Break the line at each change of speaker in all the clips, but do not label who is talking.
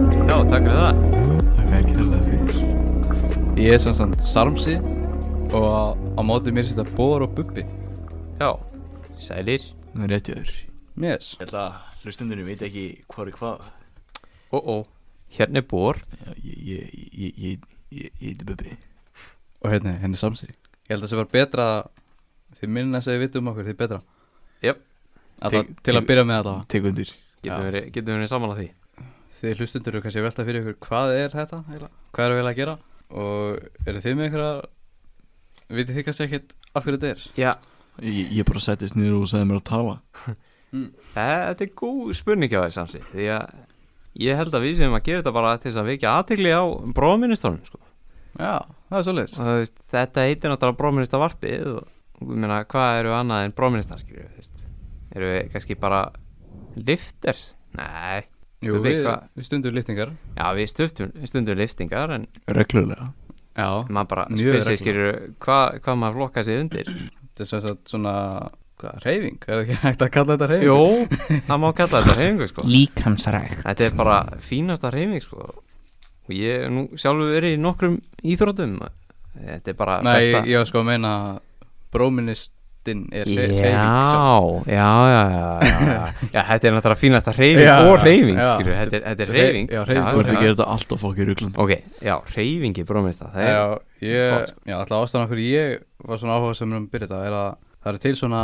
takk fyrir það
Þakka þér kærlega fyrir Ég er svona svona Sarmsi og á, á móti mér setja Bór og Bubbi
Já, sælir
Nú er rétt í öður Yes
Ég held að hlustundunum veit ekki hvað er hvað
Ó, ó, hérna er bor
Já, Ég, ég, ég, ég, ég, ég heiti Bubbi Og hérna, hérna er Sarmsi Ég held að það sé bara betra að því minna sem við vitum um okkur, því betra
Jöp,
Alltaf,
Tek-
Til að
tek-
byrja með þetta
Tek undir
getum
Já.
verið- getum verið saman að því
Þið hlustundur eru kannski að velta fyrir ykkur hvað er þetta eiginlega? Hvað eru við eiginlega að gera Og eru þið með einhverja Vitið þið kannski ekkert af hverju þetta er
Já,
Ég, ég bara settist niður og sagði mér að tala
þetta er góð spurning á þér samsi Því að ég held að við sem að gera þetta bara til þess að vekja aðtegli á bróðministránum sko.
Já, það er svoleiðis
Og þú veist, Þetta heitir náttúrulega bróðminista varpið og ég meina, hvað eru annað en bróðministar skilju Eru við kannski bara lifters? Nei,
Jú,
Bubbi,
við,
hvað-
við stundum lýtningar
já við stundum, stundum liftingar en
Reglulega
Já,
maður bara
Mjög
spyr sig
reglulega.
skilju hvað, hvað maður flokka sig undir
þetta er svo, svo, svona hvað, reyfing, er ekki hægt að kalla þetta reyfing?
Jú, það má kalla þetta reyfingu sko
Líkamsrækt
Þetta er bara fínasta reyfing sko og ég hef nú sjálfur verið í nokkrum íþrótum Þetta er bara
Nei,
besta
ég, ég var sko að meina að bróministinn er
Já,
re-
já,
hreyfing sjálf.
sko. já, já, já, já, þetta er náttúrulega fínasta reyfing
Já,
og reyfing,
já.
skilju, þetta er, þetta er
Re-
reyfing
já, hreyfing.
Þú ert að
já.
gera þetta alltaf fokkið ruglandi
Ok, já, reyfingi brómiðsta, það er,
Já, ég,
Flott.
já, alltaf ástæðan okkur ég var svona áhuga sem um byrja þetta er að það eru til svona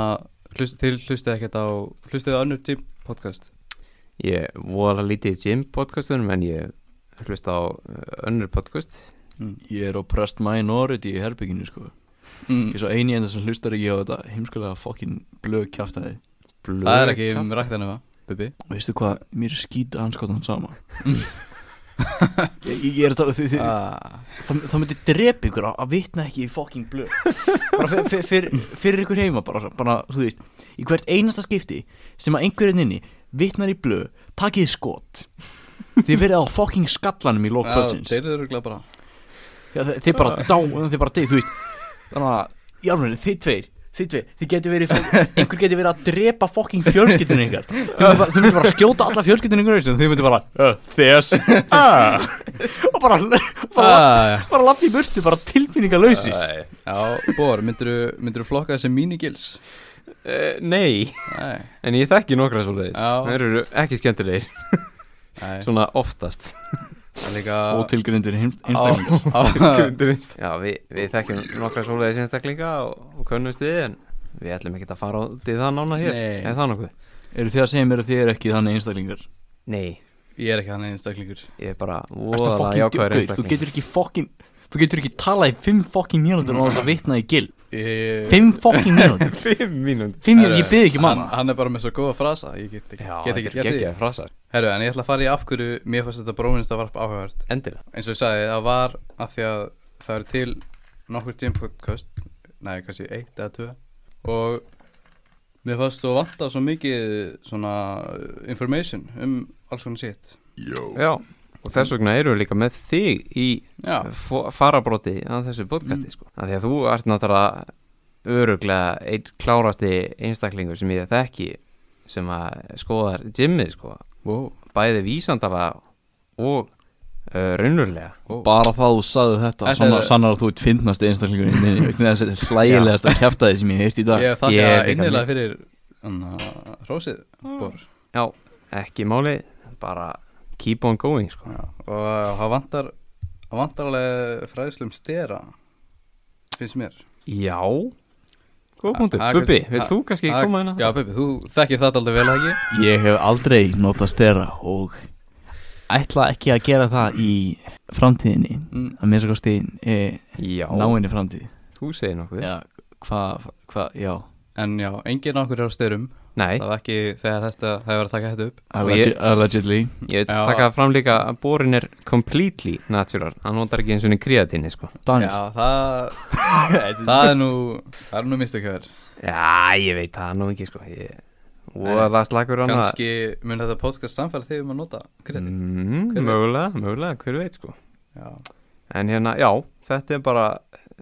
hlust, til hlustið ekkert á, hlustið á önnur tím podcast
ég voru að lítið í gym podcastunum en ég hlusta á uh, önnur podcast
Ég er á Prest Minority í herbygginu sko Ég
mm.
er svo eini enda sem hlustar ekki á þetta heimskulega fokkin blöð kjaftaði
Blöð,
Það er ekki
kjaft.
um ræktanum að, Bubi
Og veistu hvað, mér er skýta anskotan sama ég, ég er að tala því
Ah.
því það, það myndi drepa ykkur að- að vitna ekki í fucking blöð bara fyr, fyr, fyr, fyrir ykkur heima bara, bara, þú veist, í hvert einasta skipti sem að einhverjum inni vitnar í blöð, takið skot þið verið á fucking skallanum í lok
Já,
kvöldsins
þeir eru glæð bara
Já, þe- þið bara dá, þið bara deyð, þú veist þannig að, í alveg, þið tveir þið tveir, þið getur verið fó- einhver getur verið að drepa fucking fjölskyldinu ykkar þið myndir bara, þið myndir bara að skjóta alla fjölskyldinu ykkar í hausinn, þið myndir bara, uh, þess ah. og bara, bara
ah, já.
bara lafði í burtu, bara tilfinningalausi
Já, Bór, myndirðu flokka þessi mínigils?
Eh, Nei,
Nei,
en ég þekki nokkra svo leiðis
Já.
Þeir eru ekki skemmtilegir,
nei
svona oftast
Það er líka
og tilgrindur einstaklingar
tilgjönd
Já, við, við þekkjum nokkra svo leiðis einstaklinga og, og könnumst við en við ætlum ekki að fara út í það nána hér
Nei.
Er það nokkuð?
eru þið að segja mér að þið eru ekki þannig einstaklingar
Nei,
Ég er ekki þannig einstaklingur
ég er bara
Ertu
voðalega
fucking
jákvæður
dugauð? þú getur ekki fucking þú getur ekki talað í fimm fucking mínútur og þess að vitna í gil
Ég
fimm fucking mínútur
Fimm mínúnd
fimm mínútur, ég byrði ekki um mann
Hann- Hann er bara með svo góða frasa Ég get ekki,
Já,
get
þetta
ekki
er
gert því
geggjað frasar
Herru, en ég ætla að fara í af hverju Mér fannst þetta bróminsta varp áhugavert
Endilega
Eins og ég sagði, það var að því að Það eru til nokkur gym podcast Nei, kannski eitt eða tvö Og Mér fannst þú vanta svo mikið Svona information um alls konar sitt
Já, og þess vegna eru við líka með þig í
Já,
fó- farabróti að þessu podcasti sko. af því að þú ert náttúrulega öruglega einn klárasti einstaklingur sem ég þekki sem að skoðar gymmið sko.
wow
bæði vísandara og uh, raunurlega
bara það þú sagði þetta
Þetta
sannar
er-
sannar að þú ert fyndnast einstaklingur þess að þetta er hlægilegast að kjæfta þið sem ég heirt í dag
Ég
Ég
þakka
er líka
innilega fyrir hérna, hana, Rósið, Bór
já, ekki máli bara keep on going sko.
Já, og uh, það vantar það vantar alveg fræðslu um stera finnst mér
já góð punktur,
Ah,
Bubbi,
kannski-
vilt
ah,
þú kannski
Ah,
koma hérna
Já, Bubi, þú þekkir þetta aldrei vel ekki
Ég hef aldrei notað stera og ætla ekki að gera það í framtíðinni
Mm.
að minnst að kosti e,
já
náinni framtíð
þú segir nokkuð
Já, hvað, hvað, já
En já, enginn okkur er á styrum
nei,
Það var ekki þegar þetta, það var að taka þetta upp
Allegi,
ég-
Allegedly
ég veit
Já.
taka það fram líka að borin er completely natural, hann notar ekki eins og niður kreatinni sko
Daniel,
Já, það það er nú það er nú mistökjör
Já, ég veit það nú ekki sko ég... Voða slakur á hana
Kanski mun þetta podcast samfæra þig um að nota kredi Hver
mm,
veit?
Mögulega, mögulega, hver veit sko
Já,
En hérna, já, þetta er bara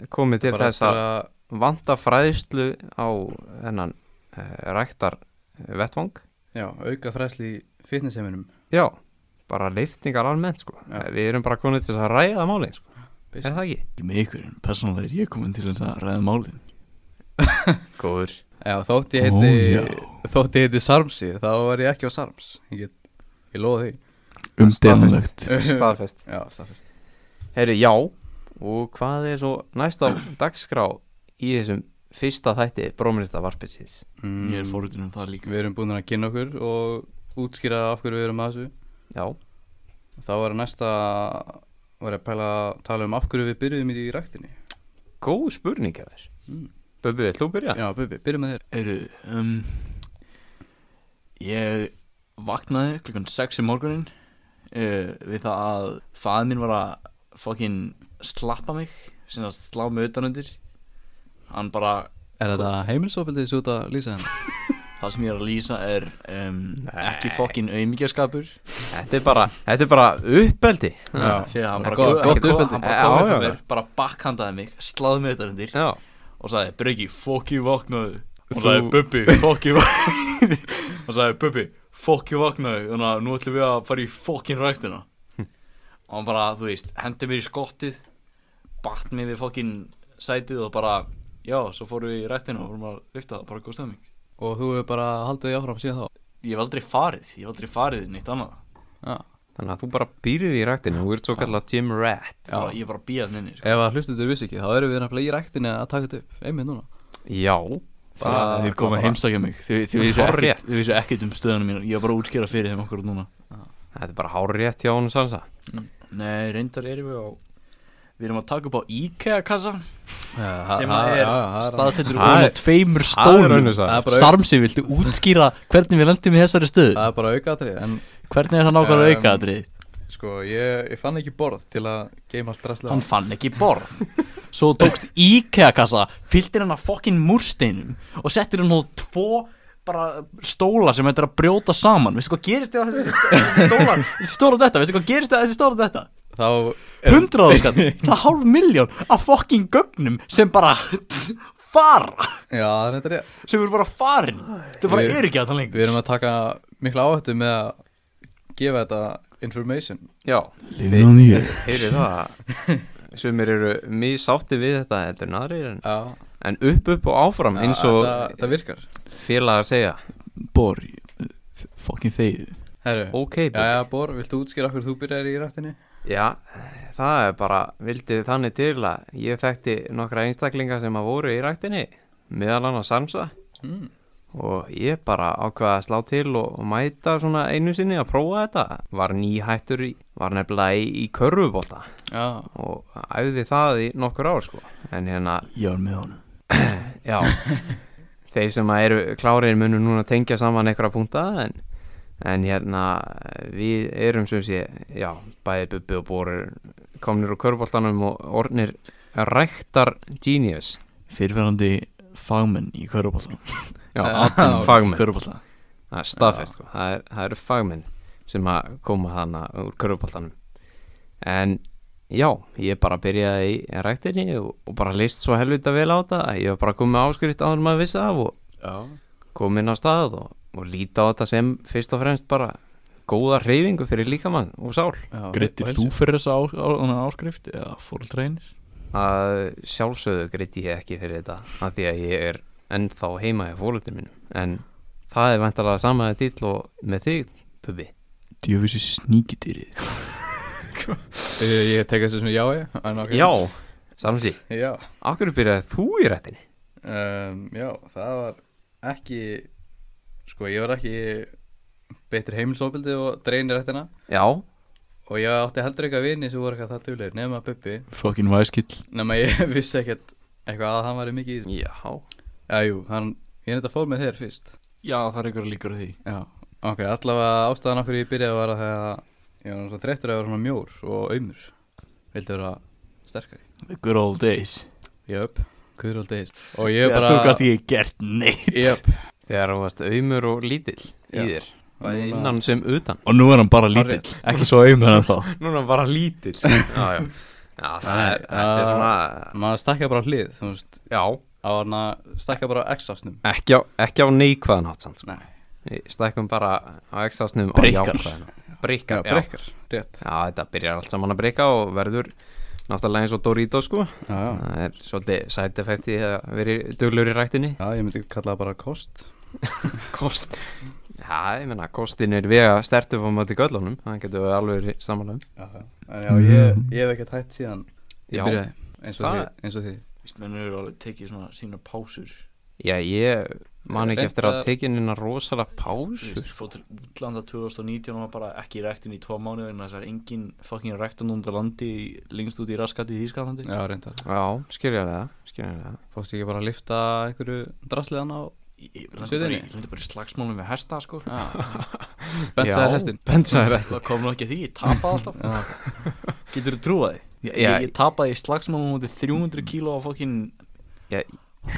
komið til
bara
þess
eftir
að
að
vanta fræðslu á eh, hennan uh, ræktar vettvang
já, auka fræðslu í fitnessheiminum
Já, bara leiftingar almennt sko.
Já.
við erum bara konið til þess að ræða málin sko. er
Basically.
það ekki?
Ekki með ykkur, en persónulega er ég komin til þess að ræða málin
Góður
Já, þótt ég heiti
Ó,
Þótt ég heiti Sarmsi, þá var ég ekki á Sarms Ég, get, ég lofa því
Um Umdelanlegt
Staðfest
Já, staðfest
Herri, já og hvað er svo næst á dagskrá í þessum fyrsta þætti bróminista varpinsins?
mm,
Ég er fórutin um það líka
Við erum búin að kynna okkur og útskýra af hverju við erum að þessu
Já,
Þá var að næsta var að pæla að tala um af hverju við byrjuðum í því ræktinni
góð spurning að þér
Mm.
Böbbi, vill þú byrja?
Já, Bubi, byrjum með þér
Eru, um Ég vaknaði klukkan 6 í morgunin uh, Við það að fæðin minn var að fucking slappa mig sem að slá mig utan undir Hann bara,
Er þetta heimilsofildið svo út að lýsa hérna? henni?
það sem ég er að lýsa er um, ekki
Nei.
fucking auðmíkjaskapur
Þetta er bara, þetta er bara uppeldi
Já.
Sér, hann bara
Gott-
hann
gott
kom-
uppeldi.
hann bara
Já,
kom upp
já,
að
já.
mér, bara backhandaði mig, sláði mig utan undir
Já.
og sagði Breki, fokk ég vaknaði og
Þú-
sagði Bubbi, fokk ég vaknaði og sagði Bubbi, fokk ég vaknaði þannig að nú ætlum við að fara í fokkin ræktina og hann bara, þú veist, hendi mér í skottið batt mér við fokkin sætið og bara, já, svo fórum við í ræktina og vorum að lifta það, bara góð stemming
Og þú hefur bara haldið því áfram síðan þá
ég hef aldrei farið, ég hef aldrei farið neitt annað
Já,
Þannig að þú bara býrið í ræktinu Þú ert svo kallað Jim Rat
já. ég er bara bíðað minni sko.
Ef að hlustundur vissi ekki, þá erum við nefnilega í ræktinni að taka þetta upp Einmitt núna
Já Það
Eh, þeir koma að heimsækja mig þau, þau, vissu ekkert, þau vissu ekkert um stöðunum mína ég var bara að útskýra fyrir þeim okkur núna
Þetta er bara hár rétt hjá hún sansa
Nei, reyndar erum við á Við erum að taka upp á IKEA-kassa sem
ha-
að er
já, já, það er-
staðsettur
Það
ofan á
er-
tveimur
það er
stólum
önnur saga.
Það er bara-
Sarmsi, viltu útskýra hvernig við lendum í þessari stöðu?
Það er bara aukaðatrið En
Hvernig er það nákvæmlega
Um,
aukaðatrið?
sko, ég, ég fann ekki borð til að geima allt draslega
Hann fann ekki borð Svo tókst IKEA-kassa fylltir hann að fokkin múrsteinum og settir hann á tvo bara stóla sem hættir að brjóta saman Veistu hvað gerist þegar þessi, þessi stóla þessi stóla og þetta, veistu hvað gerist þegar þessi stóla og þetta?
Þá er-
hundraðu skann það er hálf miljón af fokking gögnum sem bara fara
Já, það er þetta rétt
sem eru bara farin það bara
Við-
er ekki að það lengur
Við erum að taka mikla áhættu með að gefa þetta information
Já
Living on the edge.
Heyri það að Sumir eru misátti við þetta Þetta er naðrir en,
Já,
en upp upp og áfram eins og
það, það virkar
félagar segja
bor fokkin þegið
Herru,
Ok,
já,
já,
já, Bor, viltu útskýra hvernig þú byrjar í rættinni?
já, það er bara Vildi þannig til að ég þekkti nokkra einstaklinga sem að voru í ræktinni meðal annars Sansa
Mm.
og ég bara ákvaði að slá til og, og mæta svona einu sinni að prófa þetta var nýhættur í, var nefnilega í, í körfubólta
Já,
og æfði það í nokkur ár sko en hérna,
ég var með honum
já þeir sem að eru klárir munum núna tengja saman einhverja punta en, en hérna við erum sem sé, já, bæði bubbi og bóri komnir úr körfuboltanum og ornir ræktar genius
fyrirverandi fagmenn í Körbólta
já,
Ah,
Já,
atvinnufagmenn.
Körbólta
það er staðfest sko. það, er, það eru fagmenn sem að koma hana úr körfuboltanum en já, ég bara byrjaði í ræktinni og, og bara leist svo helvita vel á þetta að ég var bara komið áskrift áður en maður vissi af og
já
komið á stað og, og líti á þetta sem fyrst og fremst bara góða hreyfingu fyrir líkamann og sál
já,
Grettir
og
þú
heilsu.
fyrir þessa á, á, á, áskrift eða fóröldreinir?
að sjálfsögðu greiti ég ekki fyrir þetta af því að ég er ennþá heima í fólöldinu mínum en það er vantarlega sama dill og með þig, Bubi
Djöfissi sníkidýrið
Ég, Eh, ég tek þessu sem já ég en ok.
Já, samsí
Já,
Akkur byrjaði þú í rættinni?
um, já, það var ekki Sko, ég var ekki betur heimilsofbildi og dreginir rættina
Já,
Og ég átti heldur eitthvað vini sem voru eitthvað það duglegir Nefna Bubbi
fokkin væskill
Nefna ég vissi ekkert eitthvað að hann væri mikið í þessu.
já
Já, jú, hann, ég er þetta fór með þér fyrst
já það er ykkur líkur á því
Já Ok, allavega ástæðan af hverju ég byrjaði var að þegar ég var svona þreyttur að vera svona mjór og aumur Vildi vera sterkari
the good old days
Jöp, Guðrúld Deis Og
ég
ég
bara... þú
bara
gast ekki gert neitt
Jöp,
Þegar þú varst auðmur og lítill í
Já.
þér Bæði
Núna-
innan sem utan
og nú er hann bara
Hárrétt.
lítill ekki svo auðmennan þá
Núna bara lítill Já, já Já, það er, þetta
Já.
er svona
Ah, maður stakkja bara á hlið, þú veist
Já,
Á hann að stakkja bara á x-ásnum
ekki á, ekki á neikvæðan hátt samt sko.
Nei
Við stækkum bara á x-ásnum á
Breikkar.
jákvæðan Brikkar,
Já, brekkar, rétt
Já, þetta byrjar allt saman að breyka og verður náttúrulega eins og Dorito sko
Já, já,
Það er svolítið side effecti að vera duglur í ræktinni
já ég myndi kalla það bara kost
Kost Já, ég menna, kostin er vega stertu á móti göllunum, það getur við alveg verið sammála um
Já, já, en já, ég, ég hef ekkert hætt síðan
Já.
Ég byrjaði eins og,
Það-
því, eins og því
Vist, menn eru alveg tekið svona sína pásur
Já, ég man ekki
Reynt
eftir að
að-
tekin hérna rosalega pásur
Vist, Fór til útlanda 2019 og var bara ekki í rektin í tvo mánu en þess að engin fucking rektan undir landi í- lengst út í raskati í Ískalandi
Já, reyndar
Já, skilja það, skilja það
Fóst ekki bara að lifta einhverju drasliðan á
Ég ég lendi bara,
Suðurinn?
í- ég lendi bara í slagsmálum við hesta sko
Bentsaðir hestin
Bentsaðir hestin
Það kom nú ekki að því, ég tapaði alltaf
Já,
Getur þú trúað því? Ég,
Já.
ég, ég tapaði í slagsmálum mútið 300 kíló á fucking
Já.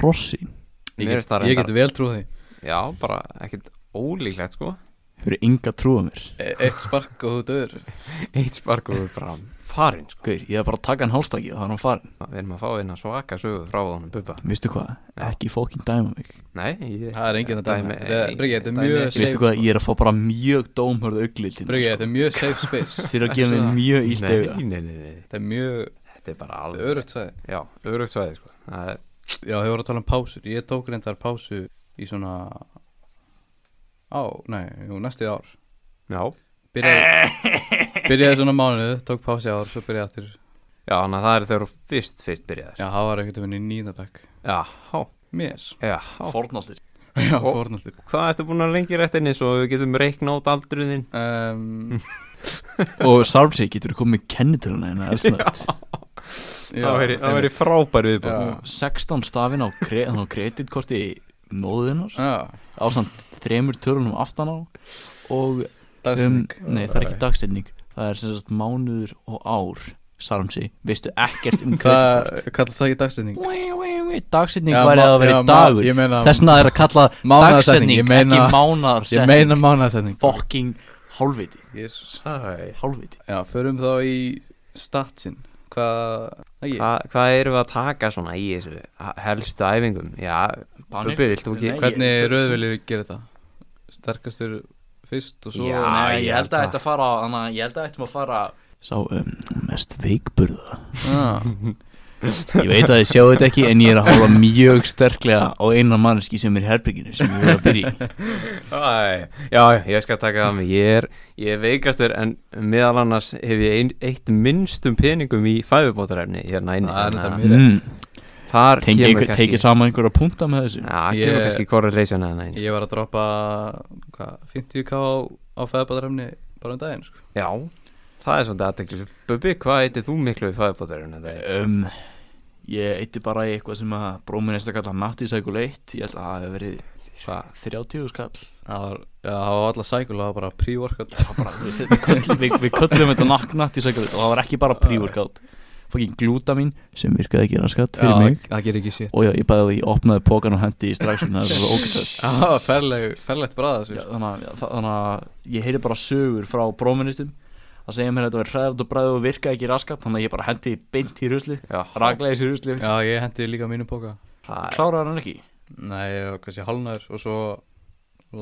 Rossi
Mér
ég,
finnst það
get, ég
reyndar-
get vel trúið því
Já, bara ekkert ólíklegt sko
Þau eru enga trúið mér
E- Eitt spark og þú döður
Eitt sparkuður bara farinn sko
Guður, ég hef bara að taka hann hálstakið og það er hann farin
Við erum að fá hérna svaka sögu frá honum Bubba
Vistu hvað,
Já.
ekki fókin dæma mig
Nei, ég,
Það er enginn að dæma. Þetta er- Breki, þetta er
dæmi
mjög
ekki.
safe.
Vistu hvað, ég er að fá bara mjög dómhörð auglið til
Bryggi, þetta er mjög safe space
Þeir eru að gefa mér mjög ílt auga
Nei, nei, nei, nei,
Þetta er mjög
þetta er bara alveg
örugt sæði
Já, örugt svæði sko Það er,
Já, þau voru að tala um pásur Ég tók reyndar pásu í svona Á, nei, jú, næstið ár
Já,
Byrjaði, byrjaði svona mánuð, tók pási ár, svo byrjaði aftur
já, þannig að það er þegar þú fyrst, fyrst byrjaðir
Já, það var ekkert að vinna í nýðabæk
Já, há,
Mér
já, há
Fornaldir
Já,
Og-
fórnaldur
Hvað ertu búin að lengi rétt inni svo við getum reikna át aldruðin
um,
Og Sarmsey getur komið með kennitöluna hérna eldsnögt
já,
Það væri- það væri
einmitt.
frábær viðbúin
Já.
16 stafin á, kre, á kreditkorti móðinnar
Já,
á samt þremur tölunum aftan á og um,
dagsning
Nei, það er ekki dagsetning Það er sem sagt mánuður og ár Sarmsey, veistu ekkert um
Það
kreditkort
kallast það ekki dagsetning
Dagsetning
Já,
væri
ma-
að það veri
já, ma-
dagur
Ég meina,
Þessna er að kalla
Mánaðarsetning,
dagsetning
ég meina-
ekki
ég
mánaðarsetning
meina mánaðsetning
Fokking hálfviti
Jesus.
Æ.
Hálfviti
Já, förum þá í statsin Hvað, ekki,
Hva, Hvað erum við að taka svona í þessu helstu æfingum? Já, Bubbi, viltu ekki-
hvernig röð viljið við gera þetta? Sterkastur fyrst og svo
Já.
Nei, ég held að
að-
þetta fara Þannig að ég held að þetta maður fara Sá um, mest veikburða
Já,
Ég veit að þið sjáu þetta ekki En ég er að hóla mjög sterklega á einan manneski sem er í herbygginu sem ég voru að byrja í
Æ, já, já, ég skal taka það með ég er, ég er veikastur en meðal annars hef ég ein, eitt minnstum peningum í fæðubótarefni hérna inni
Það er
þannig
þetta
að
mér rétt
þar
Tengi
kemur
Mm. einhver- Tekið
kannski
saman einhverja punta með þessu
Já,
Ég-
kemur kannski korrelation að það
Ég var að droppa hvað, 50k á, á feðabæðarefni bara um daginn sko.
Já, það er svolítið aðteklis Bubbi, hvað eittir þú miklu í fæðubótarefni? Það er
um, Ég eitti bara í eitthvað sem að bróminn eist að kalla nattisækul 1 Ég held að það hef verið hvað, 30 skall
Það var, já, það var alla sækul og það var bara pre-workout
Það var bara, þú veist, við köllum- við, við köllum þetta nakknatt í sækul og það var ekki bara pre-workout Fokkin glúta mín sem virkaði ekki raskat fyrir mig
það- það gerir ekki sétt
og já, ég bæði því, opnaði pókan og hendi í strax þannig að það var ógætt
Það var ferleg, ferlegt bræða sér
þannig að- já, þa- þannig að ég heyri bara sögur frá bróministum að segja mér að þetta verið hræðald og bræði og virkaði ekki raskat þannig að ég bara hendi því beint í rusli
Já,
raglaði þessi rusli
Já, ég hendi líka mínu póka
það er
kláraði hann ekki
Nei, ég var kannski halvnaður og svo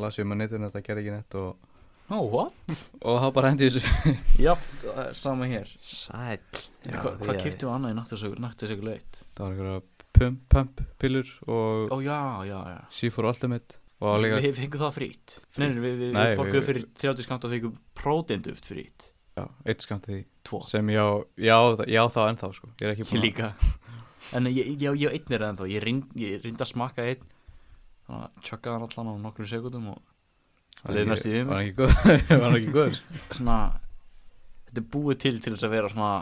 las ég með netinu að það gerir ekki neitt og,
oh what?
og það bara hendi ég þessu
já, það er sama hér
sæll Já,
Hva,
því
hvað
að-
kiptum við annað í náttúrsögur náttúrsögur leitt?
Það var einhverja pump, pump pillur og
ó já, já, já
C4 Ultimate og
Við
líka
við fengum það frýtt Nei, nei, við, við,
Nei,
við borguðum
við-
fyrir 30 skamt og fengum prótenduft frýtt
já, eitt skamt því
Tvo
sem ég á, ég á, það- ég á það ennþá sko Ég er ekki
Ég
búin
líka En ég, ég, ég, ég einnir það ennþá Ég reynd- ég reyndi að smakka einn Þannig að tjökkaði hann allan á nokkrum sekundum og
að
leið næstum því í mig.
Var hann ekki góð Var hann ekki góð
svona Þetta er búið til til þess að vera svona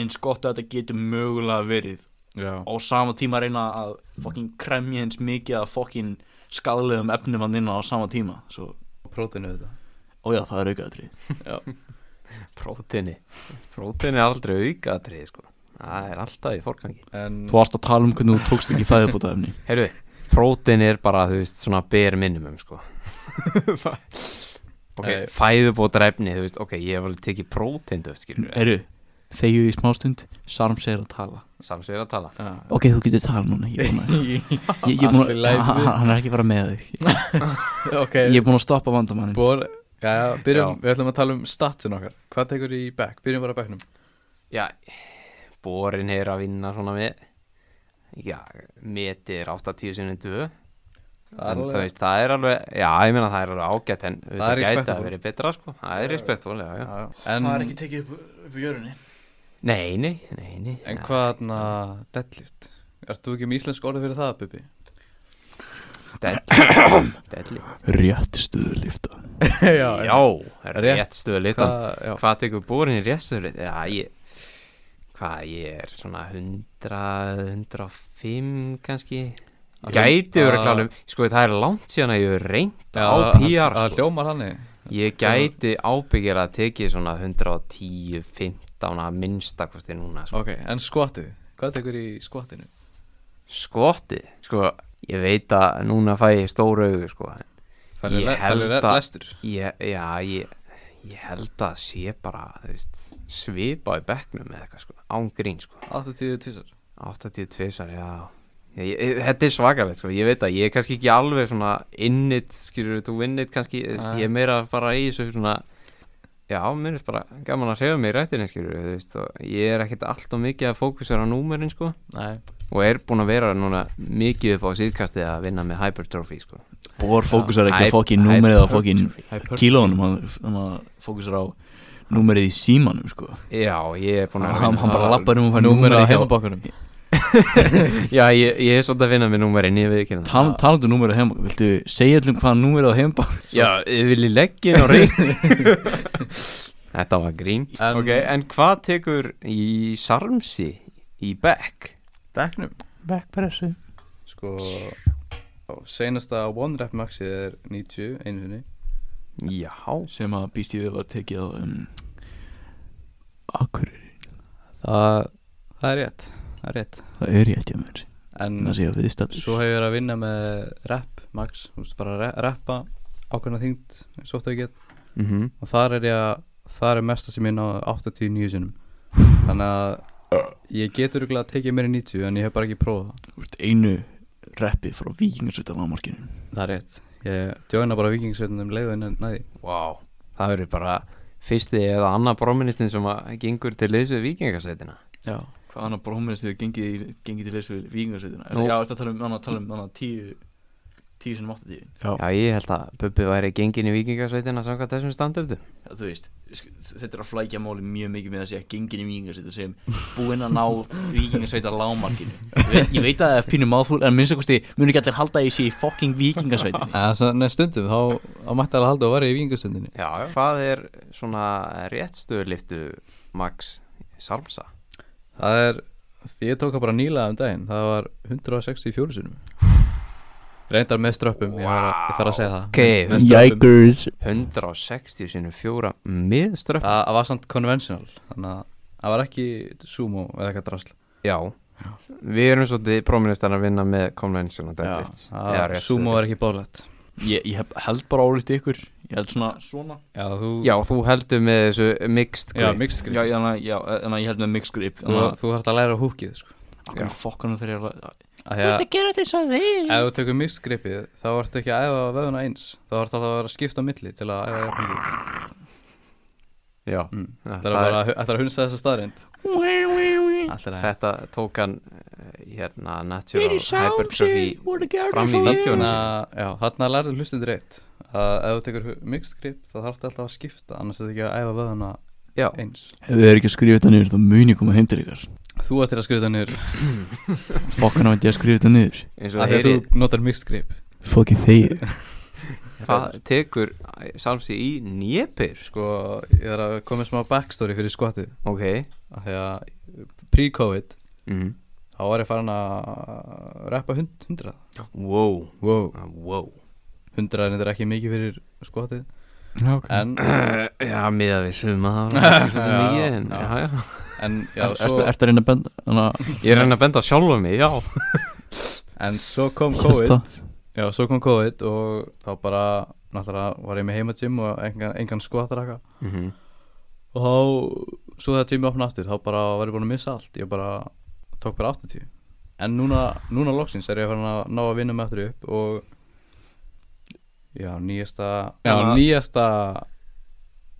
eins gott að þetta getur mögulega verið
Já
á sama tíma að reyna að fokkin kremja eins mikið að fokkin skadlegum efnum hann inn á sama tíma Svo,
prótinu þetta
ójá, það er aukaðatrið
Prótini Prótini er aldrei aukaðatrið, sko Það er alltaf í forgangi
en
Þú varst að tala um hvernig þú tókst ekki fæðabótaefni
Heyrðu, prótin er bara, þú veist, svona ber minimum, sko Ok,
Eh.
fæðubótar efni, þú veist, ok, ég hef alveg tekið prótin, þú veist, skilur við
Eru, þegju í smástund Sarms er að tala
Sams er að tala
Já.
Ok, þú getur tala núna Ég er búin að, ég, ég er búin
Allt í
að
lagi.
hann, hann er ekki að fara með þig
ok
Ég er búin að stoppa vandamannin
bor, Já, já, byrjum, við ætlum að tala um statsin okkar Hvað tekur í back? Byrjum bara að backnum
Já, borin er að vinna svona með Já, metið er 80 sinni 2 En þú veist, það er alveg Já, ég meina það er alveg ágætt En
Það er
það gæti að
respectable.
vera betra sko Það er respektfól, já, já
En,
Það er ekki tekið upp, upp í jörunni
Nei, nei, nei, nei
en hvað þarna deadlift? Erst þú ekki með íslensk orðið fyrir það, Bubi?
Deadlift Deadlift
Rétt stuðlifta
já,
Já,
Rétt.
rétt stöðu litan
Hvað, já,
Hvað tekur borin í rétt stöðu litan? Já, ég Hvað, ég er svona 100 105 kannski Gæti verið að klála um Sko, það er langt síðan að ég hef reynd á
Já,
PR
Það
sko.
hljómar hannig
Ég gæti ábyggjara að tekið svona 110, 15 að minnstakosti núna sko.
Ok, en skvatið? Hvað tekur í skvatinu?
Skotið, sko, ég veit að núna fæ ég stóra augu sko. en
Það er
Ég
le- það
held
er le-
að-
lestur
ég, Já, ég, ég held að sé bara þú veist, svipa í bekknum eða eitthvað sko, án grín sko.
80 tísar
82 sar, já ég, ég, Þetta er svakalegt, sko. ég veit að ég er kannski ekki alveg svona innit, skilur þú innit kannski, þú veist,
Nei.
ég er meira bara í þessu svona Já, mér er bara gaman að hreyfa mig í rættinni, skilur þú veist, og ég er ekkert alltaf mikið að fókusera á númerin, sko
Nei
og er búinn að vera núna mikið upp á síðkastið að vinna með Hypertrophy, sko
Bor fókusar ekki
Hy-
að fokkin númerið á fokkin
Hypertrophy.
kílónum hann- hann að fókusar á númerið í símanum sko
Já, ég er búinn að vera að
hann,
vinna
hann bara
það.
lappar um og fær
Númerið
númerið
á
hjá
heimabakkunum
Já, ég, ég er svolítið að vinna með númerin, ég veit ekki hérna
Tal- talandi um númerið á heimabakk viltu segja allum hvað númerið á heimabakk
Já, ég vil í leggin og reyn Þetta var grín
En-
en, en hvað tekur í Sarmsi í Beck?
Becknum
backpressu
Sko á, Seinasta one rep maxið er 90 einu sinni
Já,
sem að býst ég við var tekið á um, Akureyri
Það, það er rétt Það er rétt
það er ég held ég að mér
En
þannig að segja viðstætt
Svo hefur ég verið að vinna með rep, max, þú veist, bara re- reppa ákveðna þyngd, eins og oft að ég get
mm -hmm.
og þar er ég að, þar er mesta sem ég ná 89 sinum þannig að ég getur ykkurlega að tekið mér í 90 en ég hef bara ekki prófað það
einu reppi frá vikingarsvita lámarkinu
Það er rétt Ég djóna bara um vikingsveitunum leiðin en næði
wow. það verður bara fyrsti eða annar bróministin sem að gengur til liðsvið vikingasveitina
Já
Hvað annar brómiðist þið gengið, í- gengið til þessu vikingarsveitina
Nú.
Já, þetta tala um, annað, tala um annað, tíu Tíu sinum áttatíu
Já, ég held að Bubbi væri gengin í vikingasveitina samkvæmt þessum standardum
Já, þú veist, sk- þetta er að flækja máli mjög mikið með að segja gengin í vikingarsveitin sem búinn að ná vikingarsveitar lámarkinu Ég veit- Ég veit að það er pínu máfúl en minnst að kosti munu ekki allir halda í sér í fokking vikingarsveitinni
En svo- nei, stundum, þá, þá mætti alveg halda að vera í vikingsveitinu
Já, já. Hvað er svona réttstöðliftu Max Sarmsa?
Það er, því ég tók það bara nýlega um daginn það var 164 sinum Reyndar með ströppum, ég, var, að- ég þarf að segja það
Ok,
Með ströppum.
160 sinni fjóra miðströpp
Það það var samt conventional Þannig að það var ekki sumo eða eitthvað drasl
Já Við erum svolítið próministan að vinna með konvention og deadlift
það- Sumo er ekki bóðlegt
ég, ég hef- held bara ólíkt ykkur ég held svona
Svona
Já, þú,
Já, þú heldur með þessu mixed
já
grip.
mixed grip
Já, já, þannig að- já, þannig að ég held með mixed grip
Þú,
Þannig að,
þú þarft að læra húkið sko.
okkur fokkanum þegar ég er að
Af því að
gera þetta eins og við
Ef þú tekur mixed gripið þá ertu ekki að æfa vöðuna eins Þá ertu alltaf að vera að skipta á milli til að æfa jafnvel
já.
mm.
Já,
Það
það
er bara að- ætlar að hunsa þessa staðrind Alltaf
er-
að
Þetta tók hann eh, hérna Natural Hypertrophy fram í
Þannig
videónu
að, já, þannig að lærðu hlustundur eitt að ef þú tekur hu- mixed grip þá þarftu alltaf að skipta annars ertu ekki að æfa vöðuna
Já,
eins
ef þið eru ekki að skrifa þetta niður þá mun ég koma heim til ykkar
Þú ættir að skrifa það niður
fokkan á að ég að skrifa þetta niður
eins
að
og það
því að
heyri
þú notar mixed grip
fokkin þegið
Hvað tekur Sarmsi í nýpir?
Sko, ég er að koma með smá backstory fyrir skotið
Ok
af því að pre-covid
mm.
þá var ég farin að reppa hund, 100
Wow
wow.
Ah, Wow
100 er þetta ekki mikið fyrir skotið en,
Já, miða við suma það var kannski svolítið
Já,
mikið en,
já.
já, já.
en, já,
ertu
svo,
ertu að reyna að benda þannig
Ég er henni að benda á sjálfa mig, já
en svo kom
að
covid
Þetta-
já, svo kom covid og þá bara náttúrulega var ég með heimatjum og engan, engan skotaraka
Mhm.
og þá svo þegar tími opna aftur þá bara var ég búin að missa allt ég bara tók bara 80 en núna, núna loksins er ég farin að ná að vinna með aftur upp og já, nýjasta já,
Þannig að-
nýjasta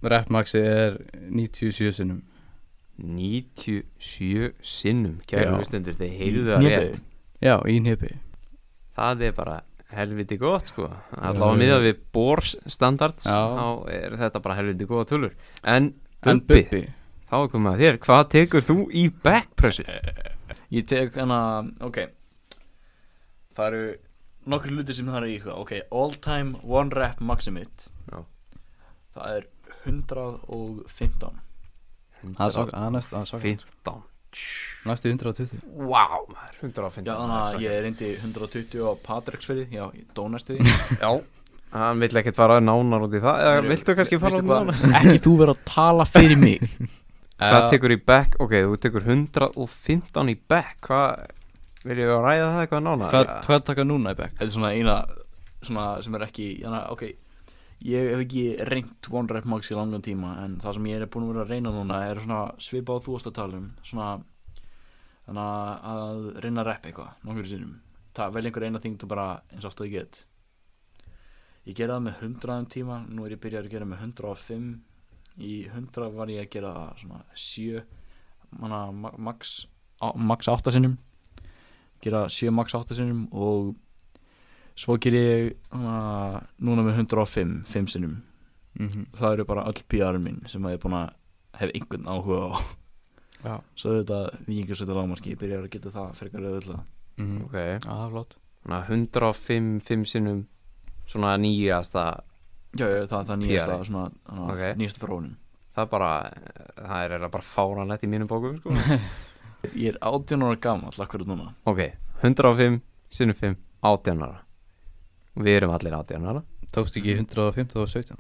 Rapmaxi er 97 sinnum
97 sinnum
Já.
kæru hlustendur, þið heyrðu það
Hnébeygju.
rétt
Já, í nýpi
það er bara helviti gott sko allavega miða við Bors standards
Já.
þá er þetta bara helviti góða tölur en
En
Bubbi,
Bubbi
þá er komið að þér hvað tekur þú í backpressu?
Eh, Ég tek hana, ok Það eru nokkur hlutir sem það eru í hvað Ok, all time one rep maximit
Já.
Það er 115
Það er svaka- það er næst- það er svaka.
15
Næstu 120
Wow, maður, 115
Já, þannig
það er
að ég
svaka.
reyndi 120 á Patreksfyrði Já, ég dónastu því
Hann vill ekkert fara nánar út í það eða viltu kannski fara
Veistu
út í
hvað?
nánar?
Ekki þú vera að tala fyrir mig
Hvað
Eh,
tekur í back? Ok, þú tekur 115 í back Hvað, viljum við að ræða það eitthvað nánar?
Hvað hvað taka núna í back?
Þetta er svona eina svona sem er ekki hana, Ok, ég hef ekki reynt one rep max í langan tíma En það sem ég er búin að vera að reyna núna Er svona svipa á þú varst að tala um Svona Þannig að- að reyna að rep eitthvað Nokkur sinnum Ta, Vel einhver eina þing og bara eins oft og ég get Ég gerði það með 100 um tíma Nú er ég byrjað að gera með 105 Í 100 var ég að gera það svona 7 Manna ma- max á- Max 8 sinnum Gera 7 max 8 sinnum Og Svo ger ég hana, núna með 105 5 sinnum
Mhm.
Það eru bara öll PR-in mín sem að ég er búin að hef einhvern áhuga á
Já
Svo er þetta vikingarsveita lágmarki Ég byrjar að geta það frekar auðvitað
Mhm.
Ok,
Já, það er flott
þannig að 105 5 sinnum Svona nýjasta
Já, já, það, það er nýjasta
PR-in.
svona, hana,
Ok.
nýjasta frónin
Það er bara, það er eiginlega bara fáranlegt í mínum bókum sko.
Ég er 18 ára gamall akkurat núna
Ok, 105 sinnum 5 18 ára Við erum allir 18 ára
Tókst ekki 115 og 17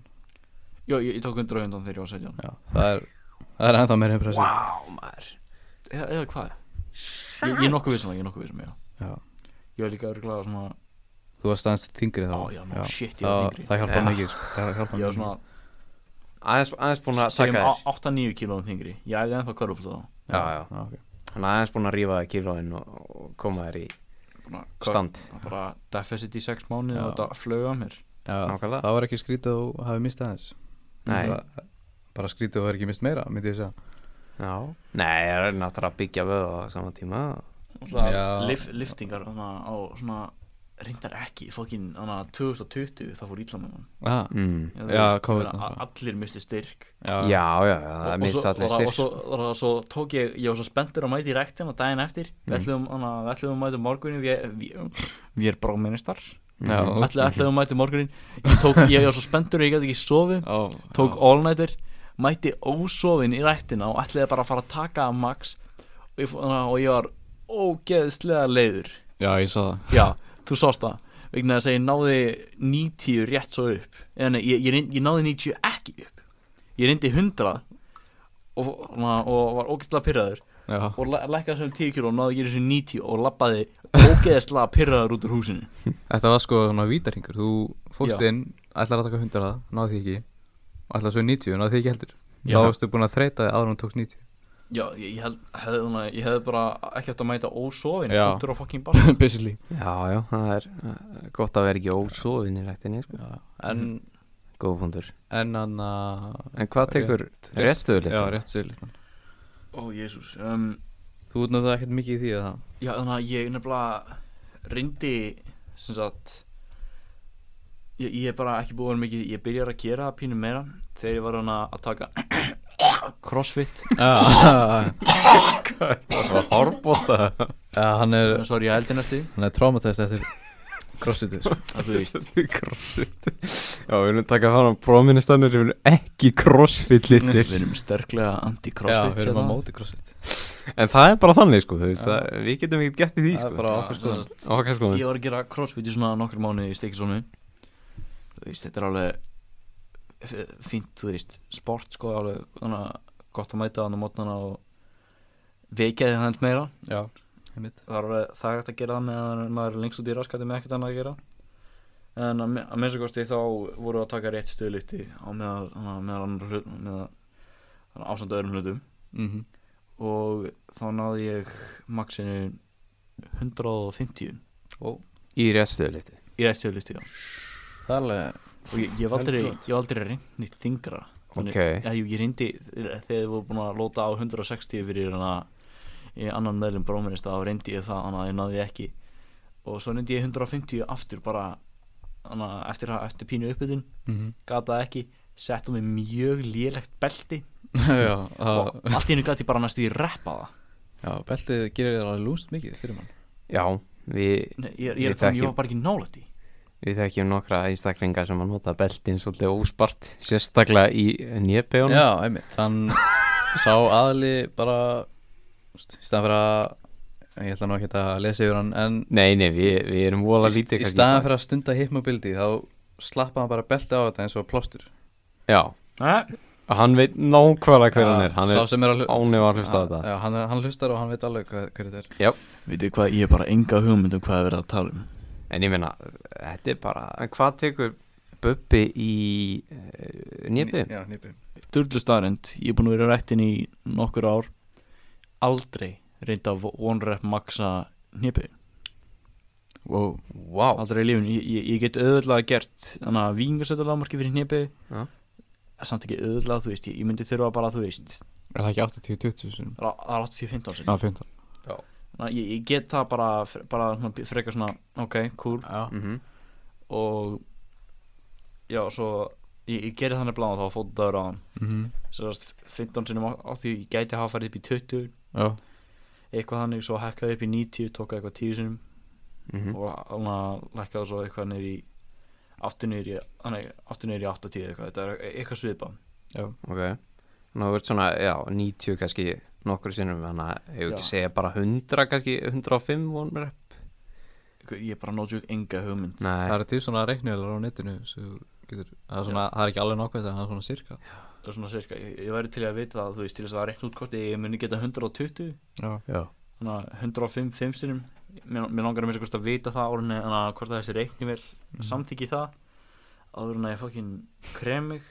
Já, ég, ég tók 115 þegar ég var 17
Já, það er Það er ennþá meira impressið
Wow, maður
Eða, eða hvað? Ég, ég er nokkuð vissum það, ég er nokkuð vissum, já
Já.
Ég var líka örgulega svona
Þú varst aðeins þingri þá
Á, já, nú, shit, ég
Það,
var þyngri.
það hjálpa
Já.
mikið sko. Það hjálpa
Ég var
mikið
svona,
Aðeins, aðeins búin að
segjum
taka þér
8-9 kílóðum þingri Ég æði ennþá körfubolta þá.
Já, já. Hann er aðeins búin að rífa þér kílóin og, og koma þér í
Búin að-
stand
Það bara deficit í 6 mánuði
Já.
og þetta flög að mér
Já,
Nákvæmlega.
það var ekki skrítið að þú hafi mistað aðeins
Nei.
bara, bara skrítið að þú hafi ekki mist meira myndi ég segja
Já Nei, ég er náttúrulega að byggja vöðu á sama tíma
Já.
Alltaf lif, liftingar þannig á svona reyndar ekki fokkin þannig 2020 það fór ítla með mann
ah,
mm.
Eða, þú
Já,
veist,
COVID
meina,
náttúrulega.
a- Allir misti styrk
Já, já, já, það er mist allir
og, og,
styrk
svo, og, og svo tók ég, ég var svo spenntur að mæta í rektin og daginn eftir
Mhm.
mm. við ætlum hana, við ætluðum að mæta morgunin við, við, við er bráministar
Já,
Mhm.
ætlum, ætlum að mæta morgunin ég, tók, ég var svo spenntur að ég gæti ekki sofið
Ó,
tók all-nighter mætti ósofin í rættina og ætliði bara að fara að taka að max og ég, fó- og ég var ógeðslega leiður
já, ég svo það
já, þú sást það vegna þess að ég náði 90 rétt svo upp eða nei, ég, ég, reynd- ég náði 90 ekki upp ég reyndi 100 og, og, og var ógeðslega pyrraður
Já,
og læ- lækkaði sem 10 kíló og náði ekki þessu 90 og labbaði ógeðslega pyrraður út úr húsinu
þetta var sko svona vítaringur Þú fórst
Já.
inn, ætlar að taka 100 náði því ekki Ætlar svo í 90, náði því ekki heldur
Já.
Þá varstu búin að þreita því áður en þú tókst 90
já, ég, ég, held, hefði, þarna- ég hefði bara ekki átt að mæta ósofin
Já.
út úr á fucking bar
Basically
Já, já, það er eh, gott að vera ekki ósofin í rektinni sko.
En,
Mm.
Góð fundur
en hann að
En hvað tekur
Já,
réttstöðulistan?
rétt stöðulistan
ó, jésús um,
Þú utnáðu ekkert mikið í því að það
Já, þannig að ég nefnilega reyndi sem sagt ég, ég er bara ekki búin mikið ég byrjar að gera pínu meira þegar ég var hann að taka crossfit
Já,
Það var horfbóta
Já, hann er,
Uh, sorry, ég heldin eftir því,
hann er traumatist eftir crossfitið sko.
að þú veist
Crossfit Já, við viljum taka fram að próministanur Við viljum ekki crossfit litir
við erum sterklega
Já,
anti-crossfit
við erum
hérna.
að móti crossfit
En það er bara þannig sko, þú veist það, Við getum ekkert gett í því
Það er
sko
bara
Já,
okkur
sem
skoðun
sagt,
Okkar sko
ég var að gera crossfit í svona nokkur mánuði í stekisónu þú veist, þetta er alveg f- fínt, þú veist, sport sko, alveg, þannig að gott að mæta þannig að mótnana og vekja þið hans meira
Já, einmitt
það er alveg það er hægt að gera það meðan maður er lengst út í raskati með ekkert annað að gera en að, me- að minnstakosti þá voru að taka rétt stöðlýtti á meðal þannig að meðal annar hlut meðal þannig að ásamt öðrum hlutum
mm
og þá náði ég maxinu 150
Í réttstöðulisti
í rétt stöðlýtti og
Það er alveg
ég, ég hef
Heldur
aldrei, ég hef aldrei reynd nýtt þingra
Ok.
Já, jú, ég reyndi eh, þegar þið voru búin að lóta á 160 fyrir hana í annan meðlum bróminist þá reyndi ég það, hana ég náði ekki og svo reyndi ég 150 aftur bara hana, eftir, eftir pínu uppbytun
Mhm.
gataði ekki, sett á mig mjög lélegt belti
já, það,
og allt í hennu gati ég bara næstu í reppa það
já, beltið gerir þér alveg lúst mikið fyrir mann
Já, við,
Nei, ég, ég, ég, um-
Við
ég
þekkjum-
var bara ekki nálætt í
við þekkjum nokkra einstaklinga sem að nota beltin svolítið óspart sérstaklega í E njöpeunum
Já, einmitt Hann sá aðli bara þú veist, Í staðan fyrir að Ég ætla nú ekki að lesa yfir hann En
Nei, nei, við, við erum vola
í,
lítið
í staðan fyrir að stunda hypnobildi Þá slappa hann bara belti á þetta eins og plástur
Já, og hann veit nákvæmlega hver hann
Já,
er Hann
sá
er
sem er að hlu-
ánef að hlusta á þetta
Já, hann, hann hlustar og hann veit alveg hvað, hver þetta er
Vitið hvað, ég er bara enga hugmynd um hvað er verið að tala um
En ég meina, þetta er bara En hvað tekur Bubbi í uh, nýpið?
Já, nýpi
Durlu staðrend, ég er búin að vera rættin í nokkur ár aldrei reynda one rep maxa hnipi
wow.
Vá,
aldrei í lífinu, ég, ég, ég get auðvitað gert þannig að vingarsöldalagmarki fyrir hnipi
Já.
samt ekki auðvitað, þú veist ég, ég myndi þurfa bara, þú veist
Er það ekki 80-20 sinum?
það er 80-15
Já, 15
sinni ég, ég get það bara, fre- bara svona frekar svona, ok, cool
Já
mm
og já, svo ég, ég geri þannig bláðan þá fótaður á hann
Mhm.
Sérst, 15 sinni á því ég gæti hafa farið upp í 20
Já
eitthvað þannig, svo hækkaði upp í 90 tók eitthvað 10 sinum
-hmm.
og hann lækkaði svo eitthvað niður í aftur niður í, þannig, aftur niður í 80 eitthvað, þetta er e-, eitthvað svipa
Ok Ná, þú ert svona, já, 90 kannski nokkur sinnum Þannig að hefur ekki
Já.
segja bara 100 kannski 105 vonur
ég er bara nótjúk enga hugmynd
Nei,
Það eru til svona reikniðalar á netinu sem þú getur, það er svona, það er ekki alveg nákvæmt en það er svona cirka
það er svona sérska, ég, ég væri til í að vita það, þú veist, til þess að reikna út hvort ég muni geta 120
Já
þannig að 105 fimmstinum mér, mér langar að mér að vita það árin en að hvort að þessi reikni vel samþyggi það áður en að ég fokkin krem mig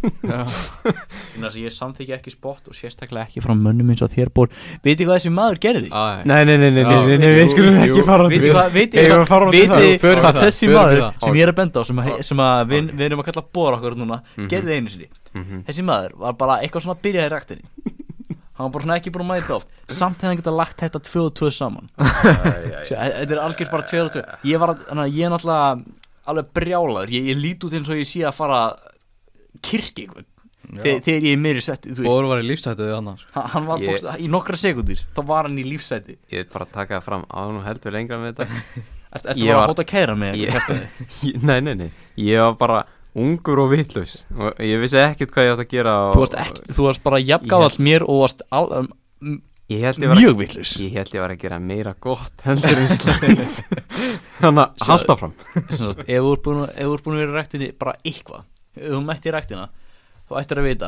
þannig að ég samþyggi ekki spott og sérstaklega ekki frá mönnum eins og þér bór veitir hvað þessi maður gerði?
Æ
nei, nei, nei, nei,
Já.
nei, nei við
Jú,
skulum
jú.
ekki fara
Vitið hvað- vitið-
Eigum við að fara út í
vitið
það?
Jú, förum
hvað
í það,
þessi
förum í
maður
það.
sem ég er að benda á sem, að, sem að við, við erum að kalla bóra okkur núna gerði einu sinni
Mhm.
þessi maður var bara eitthvað svona að byrja í ræktinni hann var bara svona ekki búin að mæta oft samt hefði hann geta lagt þetta 2 og 2 saman Sjá, e- þetta er algjör bara 2 og 2 ég var að- þannig að ég er náttúrulega alveg brjálaður ég, ég lít út eins og ég sé að fara kirkja einhvern Þeg, þegar ég er meiri sett þú veist
Bóru var í lífsættu við hann sko.
Hann- hann var
Ég-
bókst, í nokkra sekundir þá var hann í lífsæti
Ég veit bara að taka það fram ánum heldur lengra með þetta
Ertu ert
Ég
bara
var-
að hóta að kæra mig eitthvað,
Ég-
hjartaði?
Ég- Nei, nei, nei, ég var bara ungur og vitlaus og ég vissi ekkert hvað ég átt að gera og...
þú varst, ekki, þú varst bara jafngáðall mér og varst al, um, m-
Ég held ég var
mjög vitlaus
Ég held ég var að gera meira gott heldur en slæmt Þannig að halda fram
Sem sagt, ef þú ert búin, að- ef þú ert búin að vera í ræktinni bara eitthvað, ef þú mætti í ræktina þú ættir að vita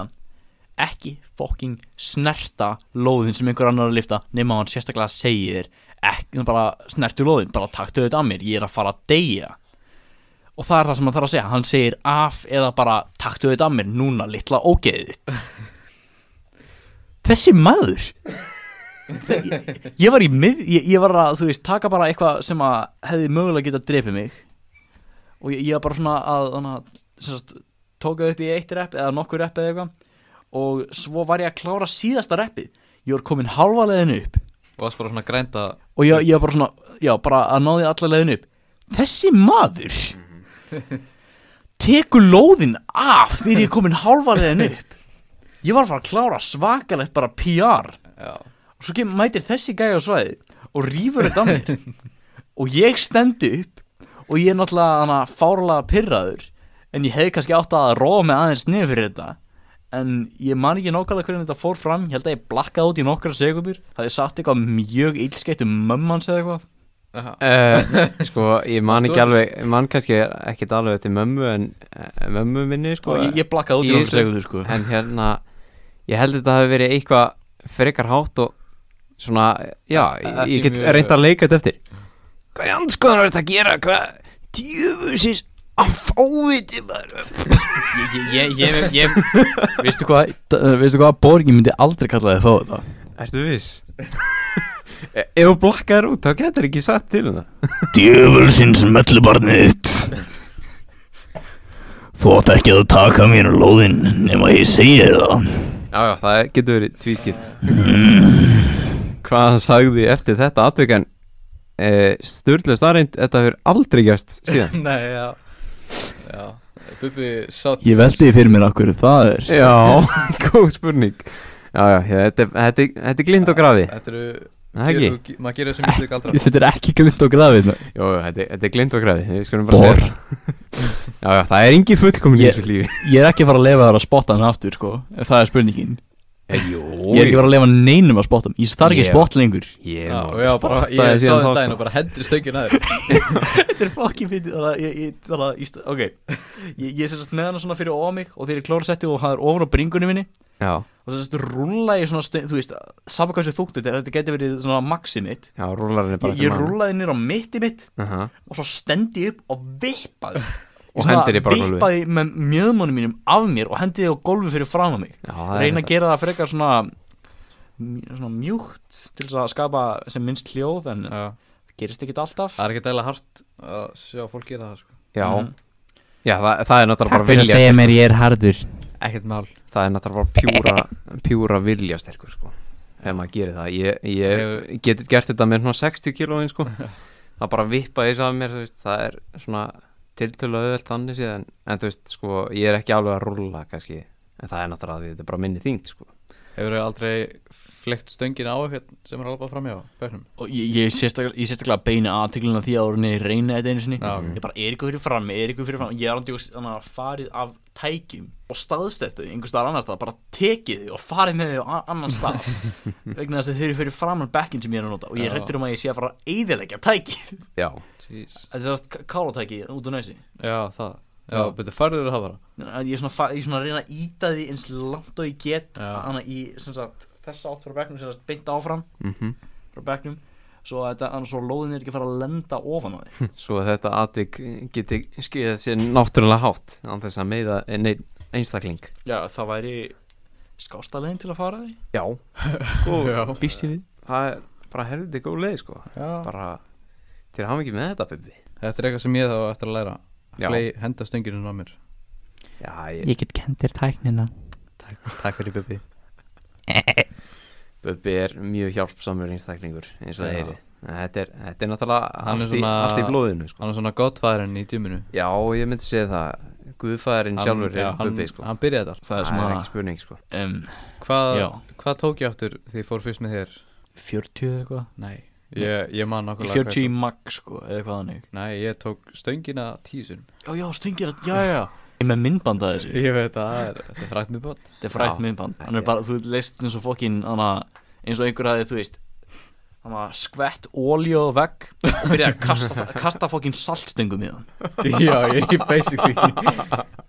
ekki fokking snerta lóðin sem einhver annar er að lifta nema hann sérstaklega segir þér ekki bara snertu lóðin, bara taktu þetta að mér ég er að fara að deyja og það er það sem hann þarf að segja, hann segir af eða bara taktu þetta að mér núna litla ógeðið þitt." þessi maður Þe- ég, ég var í mið ég, ég var að, þú veist, taka bara eitthvað sem að hefði mögulega getað drepið mig og ég, ég var bara svona að þannig að, sem sagt, tóka upp í eitt rep eða nokkur rep eða eitthvað og svo var ég að klára síðasta repið ég var komin halva leiðin upp
Og varst bara svona grænda
og ég, ég var bara svona, já, bara að náði alla leiðin upp þessi maður tekur lóðin af þegar ég er komin halva leiðin upp ég var að fara að klára svakalegt bara PR
Já,
og svo kemur mætir þessi gæja á svæði og rýfur þetta að mér og ég stendi upp og ég er náttúrulega hana fárlega pyrraður en ég hefði kannski átt að róa mig aðeins niður fyrir þetta en ég man ekki nákvæmlega hvernig þetta fór fram ég held að ég blakkaði út í nokkra sekundur það er sagt eitthvað mjög illskeitt um mömmans eða eitthvað
uh, Sko, ég man ekki alveg ég Man kannski ekkert alveg til mömmu en eh, mömmu minni, sko
og ég, ég blakkaði út í
Ég-
nokkra sekundur sko
En hérna, ég held þetta hafi verið eitthvað frekar hátt og svona, já, ég,
Ekki
ég get
mjög-
reynda að leika þetta eftir Hvað í anskoðan er þetta að gera? Hvað, djöfusis að fáviti maður
ég, ég, ég, ég, ég veistu hvað, veistu hvað Borgi myndi aldrei kalla þið að fá þetta
Ertu viss? E- Ef þú blakkar út, þá getur ekki um satt til þetta
Djöfulsins mellubarnið þitt
Þú átt ekki að taka mér lóðinn nema ég segi þér það.
Já, já, það er- getur verið tvískipt Hvað hann sagði eftir þetta atvikan e, Sturlu starreynd, þetta hefur aldrei gæst síðan
Nei, já Já, Bubi sátt
Ég veldi fyrir mér akkur það er.
Já, góð spurning Já, já, já, þetta, er- þetta, er- þetta er glind og grafi
Þetta eru
Það ekki?
þú- Maður gerir þessu mjög galdra
Þetta er ekki glimt og grafið.
Jó, jó, þetta, er- þetta er glind og grafi Við skulum bara segja
Bor.
það Já, já, það er engi fullkomin í
Ég-
þessu lífi
Ég er ekki að fara að lefa þar að spotta hann aftur, sko. Ef það er spurningin.
Jó,
Ég er ekki að fara að lefa neinum að spotta hann. Ég þarf ekki
Já.
að spotta lengur.
Ég
Já,
má
já, bara,
spotta
ég
þig
sá
síðan
þetta
þá,
daginn og
sko.
bara hendur stöngin að þér
Þetta er fucking fyndið Þannig að ég, ég, þannig að ég, st- ok Ég, ég sérst með hana svona fyrir ofan mig Og þegar ég klóra setti og hann er ofan á bringunni minni
Já,
Og sérst rúlla ég svona stund, þú veist Saman hvað sem þúkt þetta er, þetta geti verið svona maxi mitt
já, rúlarinn er bara
Ég, ég rúllaði nýr á mitti mitt
rúla
Og svo stendi ég upp og vippaði
Og hendir þig bara á gólfið.
Vippaði með mjöðmónum mínum af mér Og hendir þig á golfi fyrir fram að mig
Já, það
Reina
er
að
þetta
gera það frekar svona mj- Svona mjúkt Til þess að skapa sem minnst hljóð En
Já.
gerist ekki alltaf
Það er ekki dæla hart
Að sjá fólk gera það sko
Já,
Mhm.
já það, það er náttúrulega bara vilja
mér ég er hardur.
Ekkert mál
það er náttúrulega bara pjúra, pjúra viljasterkur sko. ef maður gerir það ég, ég get gert þetta með svona 60 kílóin sko. það bara vippa því af mér þú veist, það er svona tiltölu auðvelt þannig síðan en þú veist, sko, ég er ekki alveg að rúlla kannski, en það er náttúrulega því þetta er bara minni þyngd sko.
Hefur þau aldrei fleikt stöngin á eitthvað sem er alveg framjá Böknum
og ég, ég, sérstaklega, ég sérstaklega beina aðteglina því að orðinni reyna þetta einu sinni ég bara er ykkur fyrir fram, er ykkur fyrir fram ég er andjóks þannig að farið af tækjum og staðstættu einhvers staðar annars stað bara tekið þið og farið með þið á a- annan stað vegna þess að þau eru fyrir fram á bekkin sem ég er að nota og ég
Já.
rettur um að ég sé að fara að eyðileggja tækið
já,
Jeez
þetta er sérst kálatæki út á næsi
Já, það Já, betur farður að hafa það
ég er svona, fa- ég er svona að reyna að íta því eins langt og ég get
Já.
annað í sem sagt, þessa átt frá bekknum sem sagt, beint áfram
mhm
frá bekknum svo að þetta, annars svo að lóðin er ekki að fara að lenda ofan á þig
Hm.
svo að þetta atvik geti skiðið sér náttúrulega hátt án þess að meða neinn einstakling
Já, það væri skástalegin til að fara því
já,
Já.
og býst ég við það er bara helviti góð leið sko.
Já
bara til að hafa ekki með þetta bubbi
Þetta er eitthvað sem ég þá á eftir að læra
Já.
Flei, henda stönginu á mér
Já, ég,
get kentir tæknina.
Takk fyrir Bubi
Bubbi er mjög hjálpsamur einstaklingur eins og það
Já.
heyri En þetta er, þetta er náttúrulega
Hann er
allt, í,
svona-
allt í blóðinu sko.
Hann er svona gottfæðurinn í djuminu
Já, ég myndi segja það Guðfæðurinn sjálfur er Bubbi sko.
Hann byrjaði þetta
Það er
Það er
svona
ekki spurning sko.
um,
allt Hvað
Já.
hvað tók ég áttur því ég fór fyrst með þér?
40 eða eitthvað
Nei Ég, ég man nákvæmlega hvað ég
40 í mag sko, eða eitthvað þannig
tók. Nei, ég tók stöngina tíu sinum
Já, já, stöngir að, já, já, já Ég er með myndband að þessu
Ég veit að það er, þetta er frækt mjög bótt
Þetta er frækt
Já.
myndband Hann er bara, þú leist eins og fokkin hana, eins og einhver hafði, þú veist hana, skvett ólíu á vegg og byrjaði að kasta, kasta fokkin saltstengum í hann
Já, ég, basically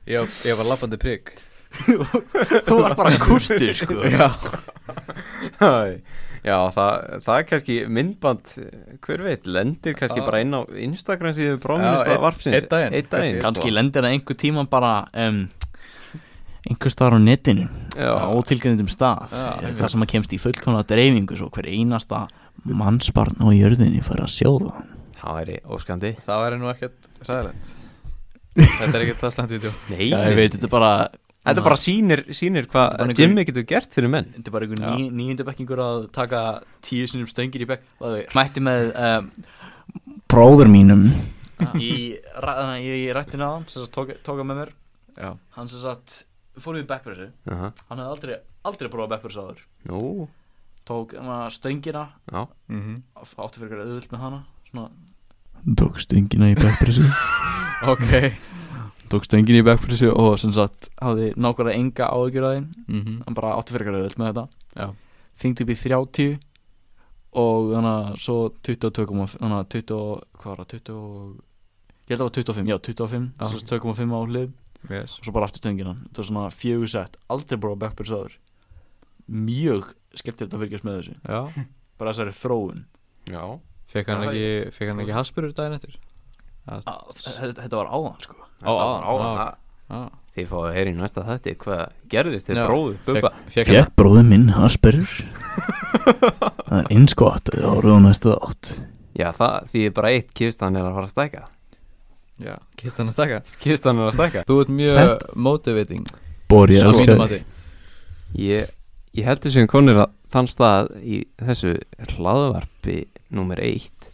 Ég, ég var lappandi prigg
Þú var bara kustur sko
Já
Já, það, það er kannski myndband Hver veit, lendir kannski
Já.
bara inn á Instagram síðu
Já,
bráminista
einn-
varpsins
einn daginn,
Eitt daginn sko.
Kanski lendir það einhver tíma bara um, einhver staðar á netinu
Já.
á ótilgjöndum stað
Já,
þar sem að kemst í fullkomna dreifingu svo hver einasta mannsbarn á jörðinni fara að sjá það
Það væri óskandi
Það væri nú ekkert ræðilegt Þetta er ekkert það slæmt vídeo
Nei,
Já, ég veit, þetta er bara
þetta bara sýnir,
Þetta
sýnir
er bara
hvað
einhver-
Jimmy getur gert fyrir menn
Þetta er bara einhver ný, nýjöndabekkingur að taka tíu sinnum stöngir í bekk og þau mætti með um,
Bróður mínum.
í, ræ, í, í rættina á hann sem sagt tók, tóka með mér
Já.
hann sem sagt fór við bekkverðsir
uh -huh.
hann hefði aldrei, aldrei prófað bekkverðs áður
Nú,
tók hana, stöngina
já
mm -hmm.
átti fyrir eitthvað auðvilt með hana svona
Tók stöngina í bækpressu.
Ok
tók stöngin í backpressu og sem sagt hafði nákvæmlega enga áhyggjur að þeim
mm -hmm.
hann bara átti fyrir eitthvað auðvöld með þetta
Já.
þingd upp í 30 og þannig að svo 22 þannig að 20 og- hvað var það 20 og- ég held að það var 25 já 25
Já.
þess að 2,5 á hlið
yes.
og svo bara aftur stöngina þetta var svona fjögur sett aldrei bara backpressu aður mjög skemmtilegt að fylgjast með þessu
Já,
bara þessari þróun
Já,
fekk hann
Já,
ekki, fekk hann ekki haspurur daginn eftir
þetta þetta var áðan sko
Á, á,
á, á,
á.
á.
Já,
Þið fáið að heyra í næsta þætti hvað gerðist þið
Já,
bróðu Bubba
fekk, fekk hann
Fjekk bróður minn Asperger. það er eins gott að þið horfum næsta átt.
Já það, því er bara eitt kist hann er að fara að stæka
Já, kistan að stakka
Kistan er að stakka
Þú ert mjög
Þetta-
motivating
Bór, ég
Svo
elska
mínum
þig
mati.
Ég, ég heldur sem konir að þann stað í þessu hlaðvarpi númer eitt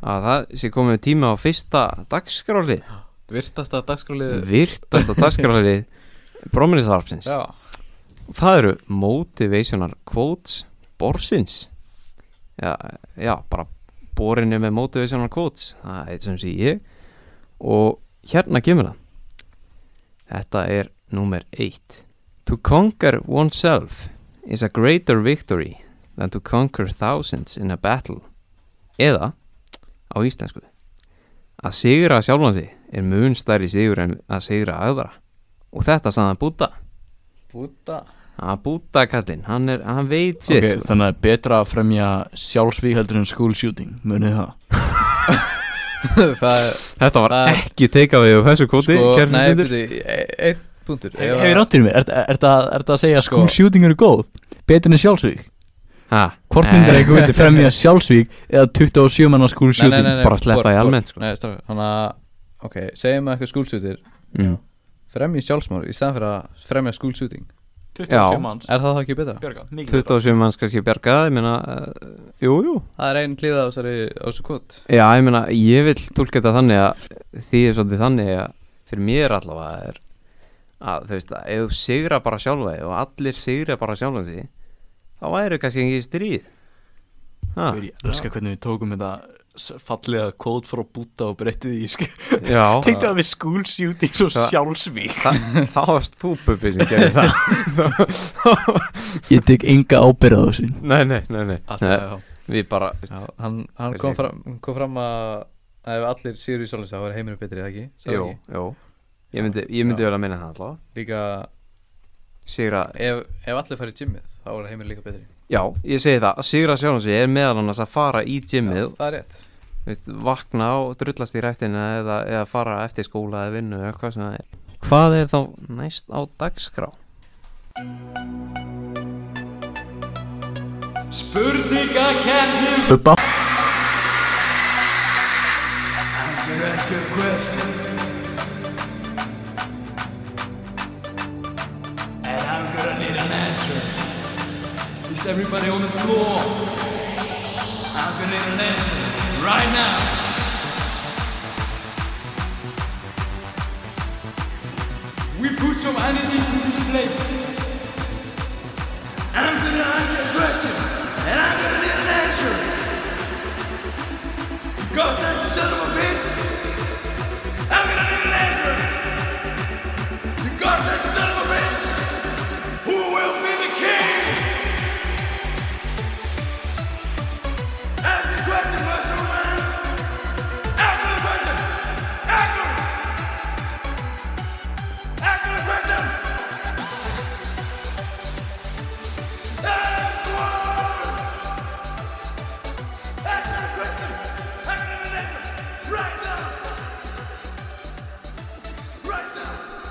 að það sé komið tíma á fyrsta dagskrálið
Virtasta dagskrálið
virtasta dagskrálið bróminisarpsins
Já
það eru motivational quotes borsins já, já bara borinu með motivational quotes það er eitt sem sé ég og hérna kemur það þetta er númer 1 to conquer oneself is a greater victory than to conquer thousands in a battle eða á íslensku að sigra sjálfan sig er mun stærri sigur en að sigra aðra og þetta saðan Buddha
Búta
að búta kallinn, hann, er, hann veit
Ok,
sitt sko.
þannig að betra að fremja sjálfsvík heldur en school shooting Munið það
Það er
Þetta var
það-
ekki teika við á þessu kóti
sko
kæru
Nei,
hlustendur.
byrju, e- einn punktur Ef að-
Hefur ráttir mér, er þetta að segja
Sko-
school shooting eru góð Betur en sjálfsvík
Ha,
Hvort
Nei.
myndir eitthvað vildi fremja sjálfsvík eða 27 manna
Eh.
school
Nei, nei,
shooting
nei, nei,
bara sleppa
Bor-
í
Bor-
almennt, sko.
Nei, strafa,
Þannig að Ok, segjum við eitthvað skúlsútir
mm.
Fremja sjálfsmór í staðan fyrir að fremja skúlsúting
27
manns
er það þá ekki betra?
Björga,
27 manns kannski bjargað ég meina, uh, jú, jú
Það er einn klíða á þessari á þessu kvot
já, ég meina, ég vil tólka þetta þannig að því er svolítið þannig að fyrir mér allavega er að þú veist að ef þú sigra bara sjálfa þig og allir sigra bara sjálfa sig þá væri kannski ekki stríð
Ah.
ha,
Ég elska hvernig við tókum þetta s- fallega kvót frá búta og breyttið í sk-
já,
Tenktu það við school shooting svo
Það-
sjálfsvík
það, það varst þú bubbi sem gerði það
Ég tek enga ábyrð á þessu
nei, nei, nei, nei, nei
Alltaf,
við bara, veist,
Já, hann, hann kom, fram, kom fram að að ef allir séu í sjálfins þá er heiminum betri, eða ekki? Sagði
Jú,
ekki?
jú Ég myndi, ég myndi vel að minna það allavega
Líka,
Sigra,
ef, ef allir fara í gymmið þá er heiminum líka betri
já, ég segi það Sigra sjálfum sig er meðal annars að fara í gymmið
Það er rétt
veist, Vakna og drullast í rættina eða, eða fara eftir skóla eða vinnu eða hvað sem það er Hvað er þá næst á dagskrá?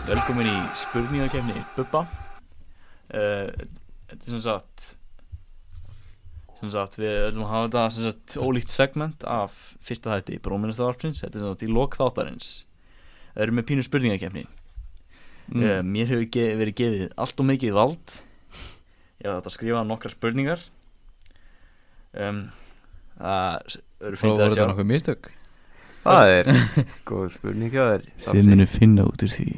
Velkomin í spurningakefni Bubba Eh, Þetta er sem sagt sem sagt við öllum að hafa þetta sem sagt ólíkt segment af fyrsta þætti bróminnastavarpsins, þetta er sem sagt í lok þáttarins Það eru með pínu spurningakefni mm. Mér hefur ge verið gefið allt og mikið vald Ég hafði þetta að skrifa nokkra spurningar um, Það eru
Svo
fyndið
voru
að sjá
þetta nokkuð mistök
Það er góð spurning hjá þér Safni.
finna út úr því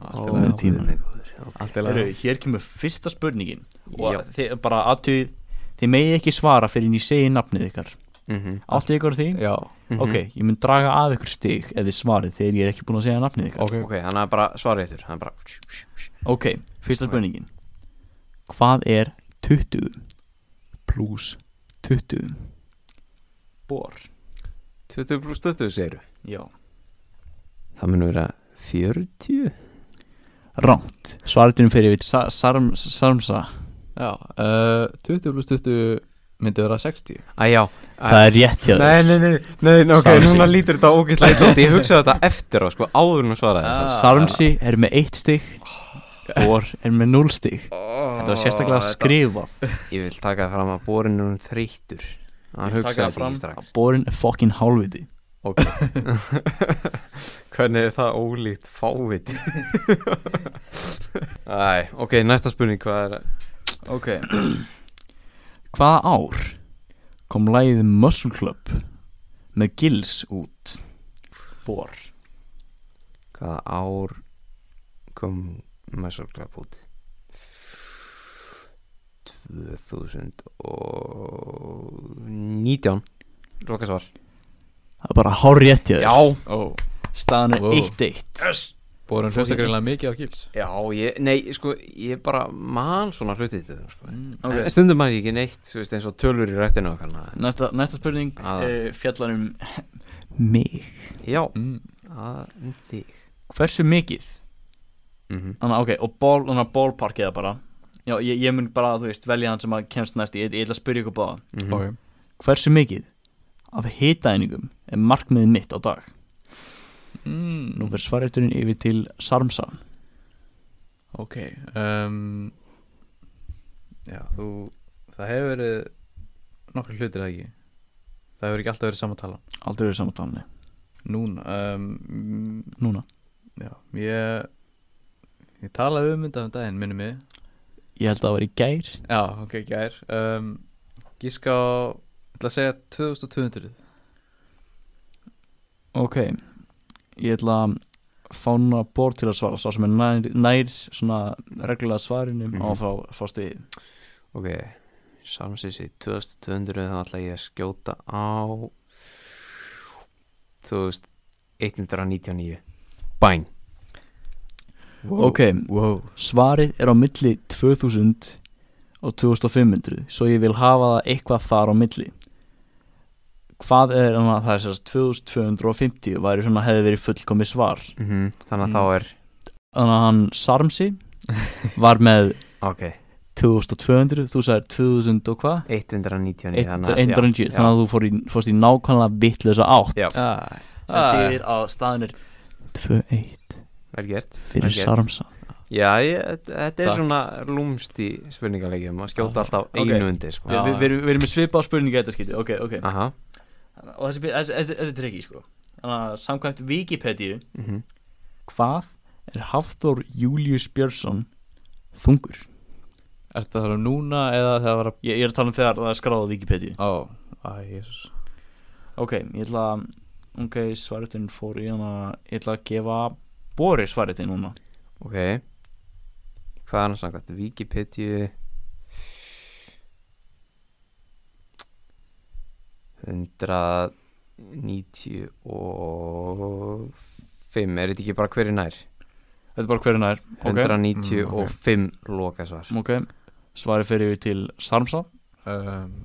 Ó,
Allt í lagi.
guð minn góður.
Allt í
Heru,
lagi.
hér kemur fyrsta spurningin
Já.
og þið bara aðtöð þið megið ekki svara fyrir en ég segi nafnið ykkar
Mhm,
áttu ykkur á því?
Já,
mhm.
ok, ég mun draga af ykkur stig ef þið svarið þegar ég er ekki búin að segja nafnið ykkar
ok
Ok, þannig að bara svara eittur Þannig bara
ok, fyrsta spurningin hvað er 20 plus 20 bor
20 pluss 20 segiru
já,
Það mun vera 40
rangt svaritunum fyrir við sa sarm sarmsa
Já, uh, 20 pluss 20 myndi vera 60
Æjá,
það er rétt hjá þér
Nei, nei, nei, nei, nei ok,
Samsi.
núna lítur þetta ógeðslega illa út Ég hugsaði þetta eftir á, sko, áður en hún svaraði þess
sarmsi er með 1 stig bor er með 0 stig Ah. þetta var sérstaklega skrifað
Ég vil taka það fram að borinn er hún þreyttur Hann
Ég vil taka
hugsaði
það
þetta
fram
að
ekki strax
borin er fokkin hálfviti
Ok Hvernig er það ólíkt fáviti? Æ, ok, næsta spurning hvað er
Ok
Hvaða ár kom lægið Muscle Club með Gils út? Bor
Hvaða ár kom Messerglap út? 2019 Lokasvar
Það er bara hár rétt ég
oh. Staðan er
Wow.
1-1
Bórum hlusta greinlega mikið á gils
Já, ég, nei, sko, ég bara man svona hlutið til það, sko
Ok.
En Stundum man ég ekki neitt, þú veist, eins og tölur í rættinu okkar na-
Næsta, næsta spurning
Ah.
uh, fjallar um
Mig
Já,
mm.
að um þig
hversu mikið
mm -hmm.
Þannig, ok, og ball, þannig að ballpark eða bara Já, ég, ég mun bara, þú veist, velja hann sem að kemst næst Ég, ég ætla að spyrja ykkur báða
Mhm.
Ok
Hversu mikið af hitaeiningum er markmiðið mitt á dag? Nú
mm.
verður svarefturinn yfir til Sarmsa
Ok um,
Já, þú, það hefur verið nokkur hlutir það ekki Það hefur ekki alltaf verið samantala
Aldrei verið samantalni
Núna um,
Núna
Já, ég Ég talaði um þetta um daginn, minni mig
Ég held að það var í gær
Já, ok, gær um, Gíska á, ég ætla að segja 2200
Ok, ég ætla að fá núna bór til að svara Sá sem er nær, nær svona reglulega svarinum
Mhm.
á að fá, fá stuði
Ok, samsins í 2200 þá ætla ég að skjóta á 2199 Bæn
Ok, wow. svarið er á milli 2000 og 2500 Svo ég vil hafa það eitthvað þar á milli Hvað er, þannig að það er sérst 2250 væri svona hefði verið fullkomi svar
mm Þannig að
Mm.
þá er
Þannig að hann Sarmsi var með
Ok,
2200, þú sagðir 2000 og hvað?
199 þannig að-
190,
já,
þannig að þú fór í, fórst í nákvæmlega vitlösa átt
Já, já.
ah,
sem þýðir að staðin er
2-1
vel gert
fyrir
vel gert.
Sarmsa
Já, ég, þetta er
Takk.
svona lúmst í spurningalegjum að skjóta alltaf
Ok.
einu undir sko.
Við- við- Við erum- við erum með svipa á spurningu þetta skipti, ok, ok
Aha,
Og þessi, þessi, þessi, þessi tryggi, sko Þannig að samkvæmt Wikipedia
mm
Hvað er Hafþór Július Björnsson þungur?
Ertu það að tala um núna eða þegar það var að
Ég, ég er að tala um þegar það er skráð á Wikipedia
Ó, æ, jésús
Ok, ég ætla að Ok, svaretin fór í hana Ég ætla að gefa Bóri svaretin núna
Ok Hvað er hann samkvæmt? Wikipedia 195 Er þetta ekki bara hverju nær?
Þetta er bara hverjum það er Ok,
195 lokasvar
ok Svarið fyrir við til Sarmsa
um,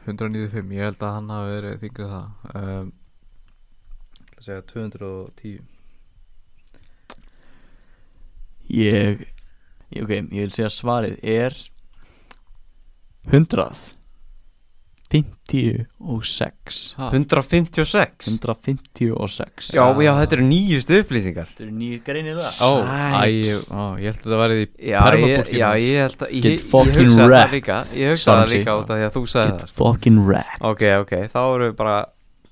195, ég held að hann hafi verið þingrið það um,
Ég ætla að segja 210
Ég ég- Ok, ég vil segja svarið er 100 56
156
156
Já, já, þetta eru nýjustu upplýsingar
Þetta eru nýju greinilega
Ó, æ,
Sæt.
ég- ó, ég held að það værið í
Já, ég,
Permabólkinu.
já, ég held að Ég,
Get
ég
fucking
hugsaði það
wrecked,
líka Ég hugsaði það
Samsi.
líka út af því að þú sagði
Get
það sko.
fucking wrecked
Ok, ok, þá erum við bara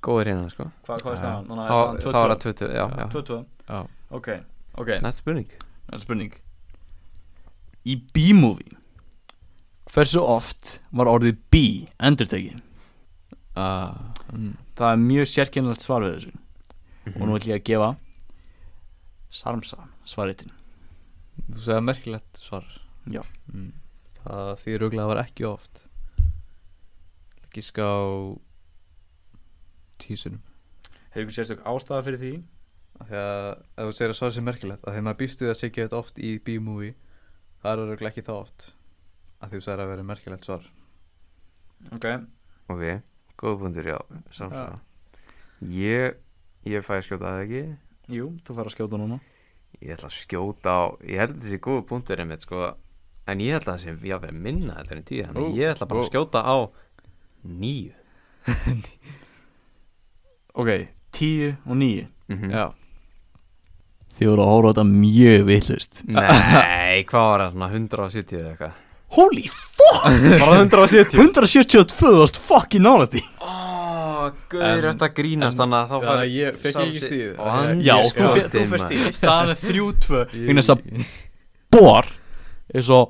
góðir hérna sko.
Hvað hvað er staðan? Núna
Þá
er staðan
þá er það
22
20 Já, já
22
Já.
Ok, ok
Næsta spurning
Það er spurning Í B-movie Hversu oft var orðið B endurtekið?
Ah, mm.
Það er mjög sérkennilegt svar við þessu Og nú ætlum ég að gefa Sarmsa svaritin
Þú segði merkilegt svar
Já.
mm.
Það þýr auðvitað að það var ekki oft Gíska á
Tísunum
Hefur ykkur sérstök ástæða fyrir því?
af því að ef þú segir að svara sér merkilegt af því að maður býst við að segja þetta oft í B-movie það er auðvitað ekki það oft af því þú segir að vera merkilegt svar
Ok
Ok, góð punktur, já Samsvara Ég, ég fæ að skjóta það ekki
Jú, þú fær að skjóta núna
Ég ætla að skjóta á Ég held að þessi góð punktur einmitt sko En ég ætla að þessi, ég verið minna þetta en tíð Þannig
Ú,
að ég ætla
ú.
bara að skjóta á Nýju
Ok, 10 og 9
Mhm.
Já,
Þið voru að horfa á þetta mjög vitlust
Nei, hvað var það svona 170 eða eitthvað
Holy
Bara 170
172 varst fucking nálætti
Ó, Gauðir eftir að grínast þannig að þá
Þannig að ég fekk ekki stíð
Og hann-
Já,
Ég-
þú,
sko,
fe- þú
dimma.
fyrst í staðan er 3-2 Vegna þess að
Ég-
Bor er svo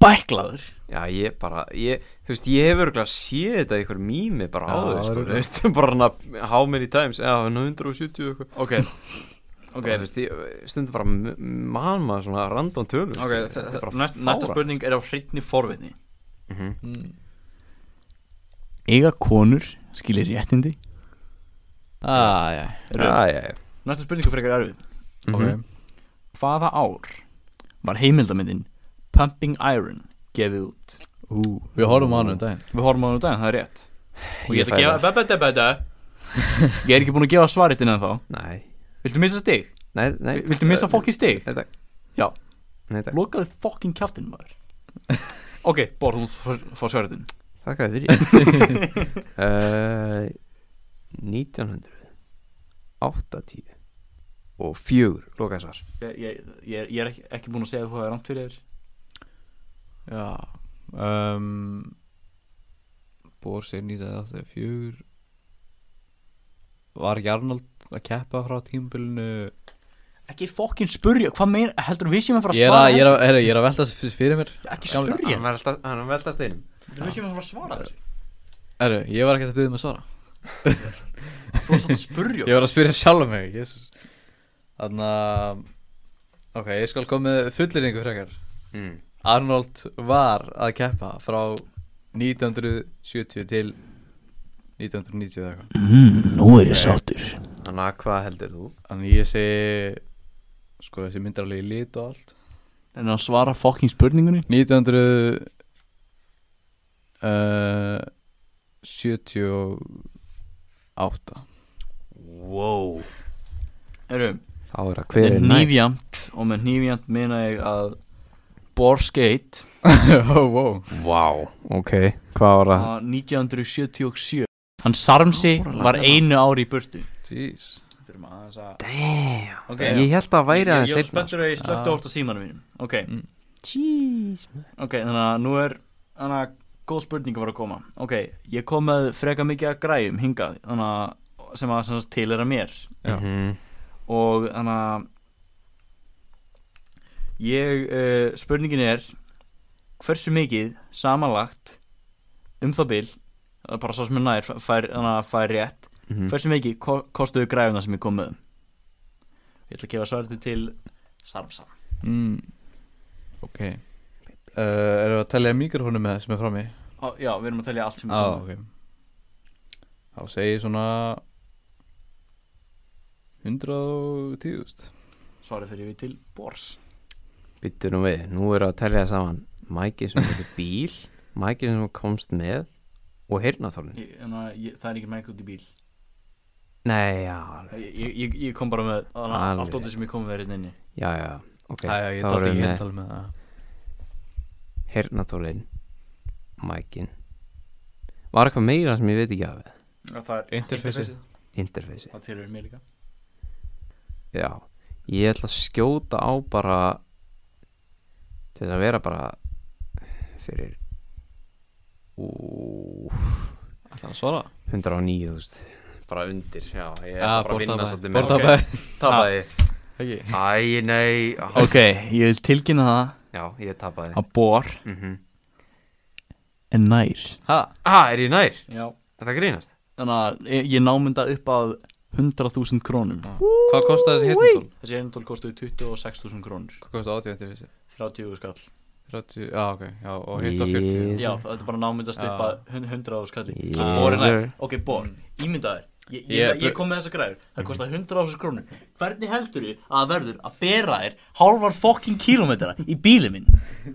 bæklaður
Já, ég bara, ég, þú veist, ég hefur örgulega séð þetta í einhver mými bara
Já,
áður, sko, þú
örugglega.
veist, bara hann að how many times, já, hann 170 eitthvað,
Ok, ok,
bara, þú veist, ég stundum bara m- man maður svona random
ok
tölur, skilur,
þe-
þetta er
þe-
bara
næst- Næsta
fáránlegt. sko.
spurning er á hreinni forvitni
Mhm.
Ega Mm. konur skilir réttindi ah, já,
Já,
já.
já, já,
Næsta spurning er frekar erfið
Mhm.
Hvaða ár var heimildamindin Pumping Iron gefið út?
Ú, við horfum á hann um daginn
Við horfum á hann úr daginn, það er rétt Og ég
Ég
ætla að
fæ
gefa
það.
bæ, bæ, bæ, bæ, bæ. Ég er ekki búin að gefa svaritinn en þá
Nei,
Viltu missa stig?
nei, nei
Viltu missa fokkin stig?
Nei, takk
Já.
Nei, takk,
Lokaðu fokkin kjáttinn maður Ok, Bor, þú fór- fór svaritinn
þakka þér fyrir uh, 1980 og fjögur, lokaði svar
Ég, ég, ég, er- ég er ekki, ekki búin að segja að þú hefur rangt fyrir þér
Já um, Bór segir nýtaði að þegar fjögur Var ekki Arnold að keppa frá tímabilinu
Ekki fokkin spurja, hvað meir heldur við séum að fara að
Ég er
svara
að, ég er að, herri, ég er að velta þessu fyrir- fyrir mér
þessu? Ekki
Gamla-
spurja,
Hann veltast, hann veltast inn
Þú veist ég maður að svara þessu
Herru, ég var ekki að byggja um að svara
Þú varst að spurja
Ég var að spyrja sjálf mig Jesus. Þannig að Ok, ég skal koma með fulliringu frekar
mm.
Arnold var að keppa frá 1970 til 1990 eða eitthvað
Mm, nú er ég sáttur
Þannig að hvað heldur þú?
Þannig ég segi Sko þessi myndar alveg í lit og allt
En að svara fokkin spurningunni
1970 eh, 78
Wow Erum,
Þá er að
Þetta
hver
er
er næst
nýfjamt og með nýfjamt meina ég að Bor skeitt
Oh, wow
Vá, ok, hvað var það?
á 1977 Hann Sarmsi var
hérna.
einu ári í burtu
Jeez
þurfum aðeins að
Damn,
Ok,
ég held að væri
Ég-
aðeins
Ég er
seinna,
spenntur að ég slökti
Já.
óvart á símanum mínum Ok,
Mm.
Jeez
ok, þannig að nú er Þannig að góð spurning var að koma Ok, ég kom með freka mikið að græjum hingað Þannig að sem að sem sagt, til er að mér
Já.
Mhm.
Og þannig að Ég, uh, spurningin er Hversu mikið samanlagt Um það bil það er Bara sá sem er nær, fær, þannig að fær rétt
Mhm.
Hversu mikið ko kostuðu græfuna sem ég kom með? Ég ætla að gefa svarið til Sarmsa
mm. Ok uh, Erum við að telja mikrofónu með sem er frá mig?
Ó, Já, við erum að telja allt
Já,
sem ég kom með
ok Þá segi ég svona 110.000
Svarið fyrir við til Bors
Byttu nú við, nú er að telja saman Mæki sem var í bíl Mæki sem þú komst með Og heyrnaþólin
ég, en að ég, Það er ekki mæk út í bíl
Nei, já, alveg.
Ég, ég- ég, ég kom bara með hana,
Alveg
allt ótið sem ég kom með hérna inni
já, já Ok,
Æja, ég
þá
dætti
erum
ekki
við
að
með
tala með það
heyrnaþólin Mækin Var eitthvað meira sem ég veit ekki af
Já, Það
Interfaceið.
er interfaceið.
Interfaceið
Það tilhör mér líka
Já, ég ætla að skjóta á bara til þess að vera bara fyrir ú,
Ætlar að svara?
109.000 bara undir, já, ég ætla
Já,
bara að vinna svolítið
bortabæði Bortabæði
Tapaði
Ekki
Æ, nei á,
Ok, ég vil tilkynna það
Já, ég tapaði
að Bor
mm -hmm.
er nær
Ha?
Ah, er ég nær?
Já
Er það grínast?
Þannig að ég, ég námynda upp að 100.000 krónum
Hvað kostaði þessi heyrnatól?
Þessi erindól kostuði 26.000 krónur
Hvað kostaði 80 interfísi?
30 skall
30, já ok, já, og hitt á 40
Ég-
Já, það er bara námyndast upp
Já.
að hun- 100 og skalli
Yes,
Bor er nær.
sir.
Ok, Bor, ímyndaður Ég, ég,
Ég-
ég kom með þessa græður,
Mhm.
það kostar 100 ásins krónur Hvernig heldur þið að það verður að bera þér hálfar fokkin kílómetra í bíli minn?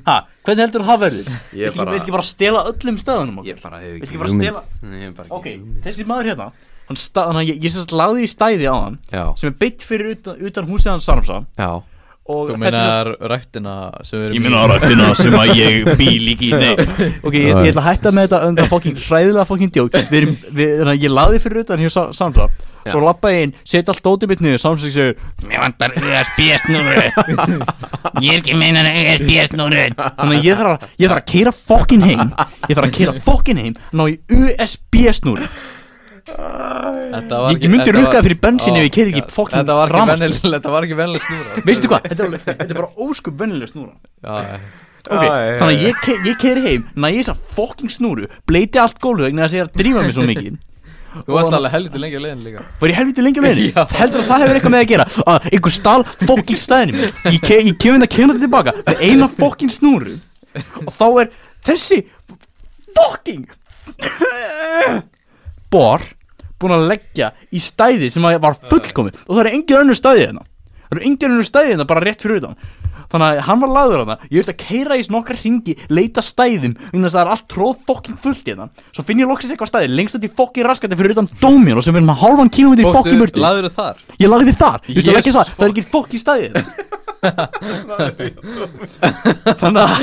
Ha, hvernig heldur það verður?
Ég
Viltu
bara-
ekki, ekki bara stela öllum stöðunum okkur?
Ég bara hef
Viltu
ekki
ekki bara
hugmynd
stela-
Nei, ég hef bara ekki
Ok,
hugmynd.
þessi maður hérna Hann sta, hann, ég, ég sérst lagði í stæði á hann
Já,
sem er beitt fyrir utan, utan húsið hans Sarmsa
já,
og
Þú
þetta er svo-
meinar rættina sem við erum
Ég minna árættina sem að ég bý líki í Nei,
ok, ég, ég ætla að hætta með þetta um það fokkin hræðilega fokkin djók við erum, við, þannig að ég laði fyrir utan hér samsá svo lappa ég inn, setja allt dótið mitt niður samsá segir,
Mér vantar USB-snúru Ég er ekki meinan USB-snúru
þannig að ég þarf að ég þarf að keira fokkin heim ég þarf að keira fokkin heim ná í USB snúr
Þetta var
Ég myndi
þetta
rukka
var-
fyrir bensíni
Ó,
ef ég keyrði ekki
já,
fucking
Þetta var ekki
rafmagnsbíl.
venjuleg- þetta var ekki vennileg snúra
veistu hvað, þetta er, alveg- þetta er bara óskup vennileg snúra
Já, já.
ok, þannig að ég, ke ég keiri heim næ ég þess að fokkin snúru, bleiti allt gólfið vegna þess að ég er að drífa mig svo mikið
Þú varst alveg helviti lengi að leiðin líka
var ég helviti lengi á leiðinni heldur að það hefur eitthvað með að gera að einhver stál fokkin staðinu mér ég, ke ég kemur þetta kemur þetta hérna tilbaka með eina fokkin snúru og þá er þessi fokkin bor búin að leggja í stæði sem að var fullkomið og það eru engin önnur stæði hérna það eru engin önnur stæði hérna bara rétt fyrir utan þannig að hann var lagður hérna ég veist að keira í nokkra hringi leita stæðum vegna þess að það er allt tróð fokkin fullt hérna svo finn ég loksins eitthvað stæði lengst út í fokkin raskandi fyrir utan dómjón og sem er hann halvan kílómetri í fokkin burtu
laður þar
ég lagði þar, þú veist að leggja
Jesus
þar, það er ekki fokkin stæði hérna þannig að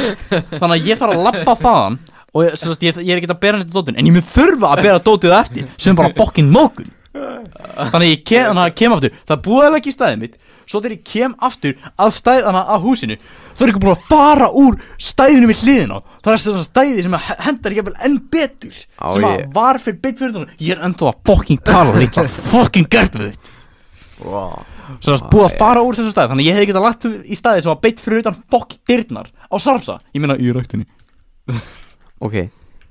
þannig að ég þarf að lappa þaðan og ég, sérst, ég, ég er ekki að bera neitt dótin en ég mun þurfa að bera dótið á eftir sem er bara bokkin mókun þannig að ég ke, þannig að ég kem aftur það er búið að leggja í stæðið mitt svo þegar ég kem aftur að stæðana að húsinu það er ekki búin að fara úr stæðinu við hliðina á. það er svona stæði sem að he- hendar ég vel enn betur
Á,
sem að
ég-
var fyrir byggt fyrir þannig ég er ennþá að bokkin tala lítla bokkin gerfið þitt
wow.
sem að búið að fara úr þessu stæð þannig að ég hefði getað lagt í stæði sem var beitt fyrir utan fokk dyrnar á Sarpsa ég meina í rögtinni
Ok,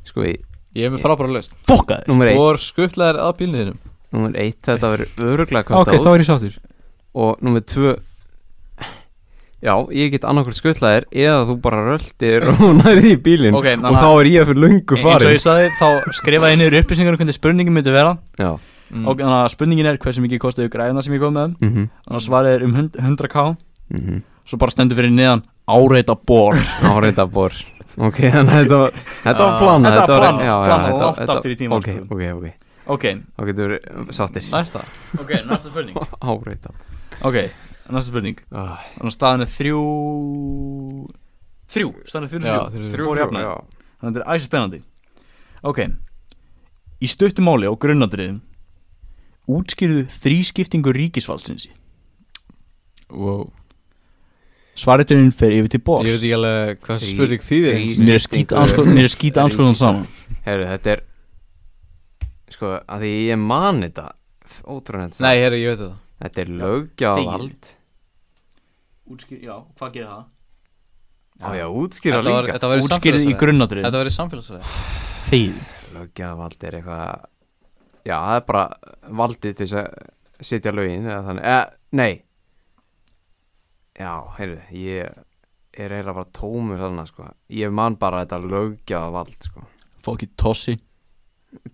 sko í
Ég er með frábæra löst
fokkaði
Númer eitt
Bor skuttlaðir að bílniðinum
Númer eitt, þetta verður öruglega kvart á
er ég sáttur
Og númer tvö Já, ég get annarkvært skuttlaðir Eða þú bara röltir og nærið í bílinn
Ok, þannig
Og þá
að-
er ég fyrir löngu
eins og
farin
ég sagði þá skrifaði ég niður upplýsingar um hvernig spurningin myndi vera
Já,
Mm.
og þannig að spurningin er hversu mikið kostiðu græðina sem ég kom með
mhm,
þannig að svarið er um 100 100k
mhm
svo bara stendur fyrir neðan áreita bor
Áreita bor Ok, þannig að þetta var Þetta var
Já,
plana
Ah, þetta var
var
planað,
já, já,
planað
þetta-
langt
þetta-
aftur í tímann,
Ok,
sko.
ok, ok
ok,
Þá getur við sáttir
Næsta
ok, næsta spurning
Áreita
ok, næsta spurning
Ah,
þannig að staðan er þrjú þrjú, staðan er þrjú
Já, þeir
þrjú
eru
Þrjú
Bor jafnaði.
já.
Þannig að þetta er æsir spennandi Ok Í stuttum máli og grunnadriðum Útskýrðu þrískiptingu ríkisvaldsins
Wow
Svariturinn fer yfir til
Ég veit
boss
ekki alveg hvað
Þrí-
spurning þýðir
þrír-
Mér er skýta anskoðan Mér er skýta anskoðan saman
Herru, þetta er Sko, að því ég man þetta Ótrúan þetta
Nei, herru, ég veit þetta
Þetta er löggjávald
Útskýr, já, hvað gerir það?
Já, já, útskýra
Þetta var-
líka
Þetta var í
Útskýrðu í
samfélagsfræði
grunnadriðum
Þetta var í samfélagsfræði
Þegið
Löggjávald er eitthvað Já, það er bara valdið til þess að setja lögin eða þannig eða, Nei Já, heyrðu, ég er eiginlega bara tómur þarna, sko Ég man bara þetta löggjávald, sko
Fokki tossi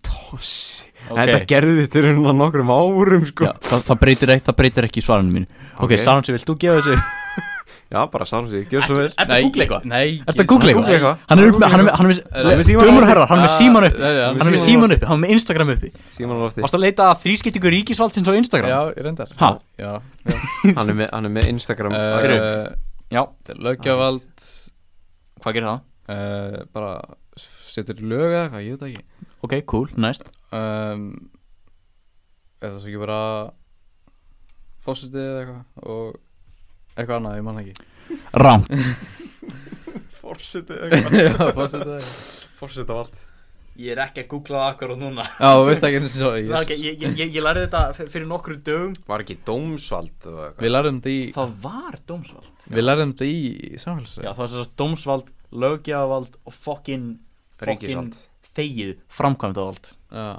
Tossi
Ok.
Þetta gerðist fyrir svona nokkrum árum, sko
já, það, það, breytir ekki, það breytir ekki svarinu mín Ok,
Ok.
okay Sarnsi, vilt þú gefa þessu?
Já, bara sáðum sig, gjör svo vel
Ertu að googla eitthvað?
Nei
Ertu að googla
Googla
eitthvað?
eitthvað.
Hann er upp með, hann er með, hann er með,
er með símann á-
dömur og herrar, hann er með
Ah,
síman uppi
já, já,
Hann er með síman uppi, hann er með Instagram uppi
Síman Lofti
Varst að leita að þrískiptingu ríkisvaldsins á Instagram?
Já, ég reyndar
Ha?
Já
hann, er með, hann er með Instagram
Eh,
uh,
Já Lögjavald
Hvað gerir það?
eh, Bara Setur lög eða eitthvað, ég veit það ekki
Ok, cool, næst
um, Eða svo ekki bara Fósitið eða eitthvað Og Eitthvað annað, ég man það ekki
Rám
Já, fósitið eða eitthvað
Ég er ekki að googla það akkur og núna
Já, þú veist ekki eins og svo ég-
okay, Ég, ég, ég, ég lærði þetta fyrir nokkru dögum
Var ekki dómsvald og eitthvað?
Við lærum þetta í
Það var dómsvald
Við lærum þetta í samfélagsfræði
Já, það var svo dómsvald, lögjavald og fokkin
Ríkisvald
þegið framkvæmdavald
Já,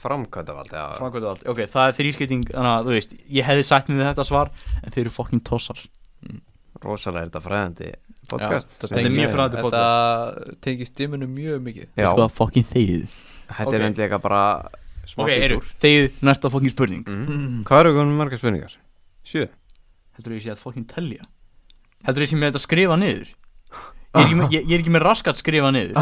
Framkvæmdavald eða
Framkvæmdavald, ok, það er þrískipting Þannig að þú veist, ég hefði sagt mér þetta svar En þeir eru fokkin tossar
Rosalega er þetta fræðandi
Já,
podcast
þetta
sem-
er
tengist-
mjög fræðandi
Þetta tengist dimmunum mjög mikið
Já,
Sko, fokkin þegið
þetta
ok.
er endlega bara smá
Ok, eru,
fíntúr.
þegið næsta fokkin spurning
Mm. Hvað eru komin margar spurningar? Sjö
Heldur ég sé að fokkin telja Heldur ég sé með þetta skrifa niður Ég er ekki með, ég, ég er ekki með raskat skrifa niður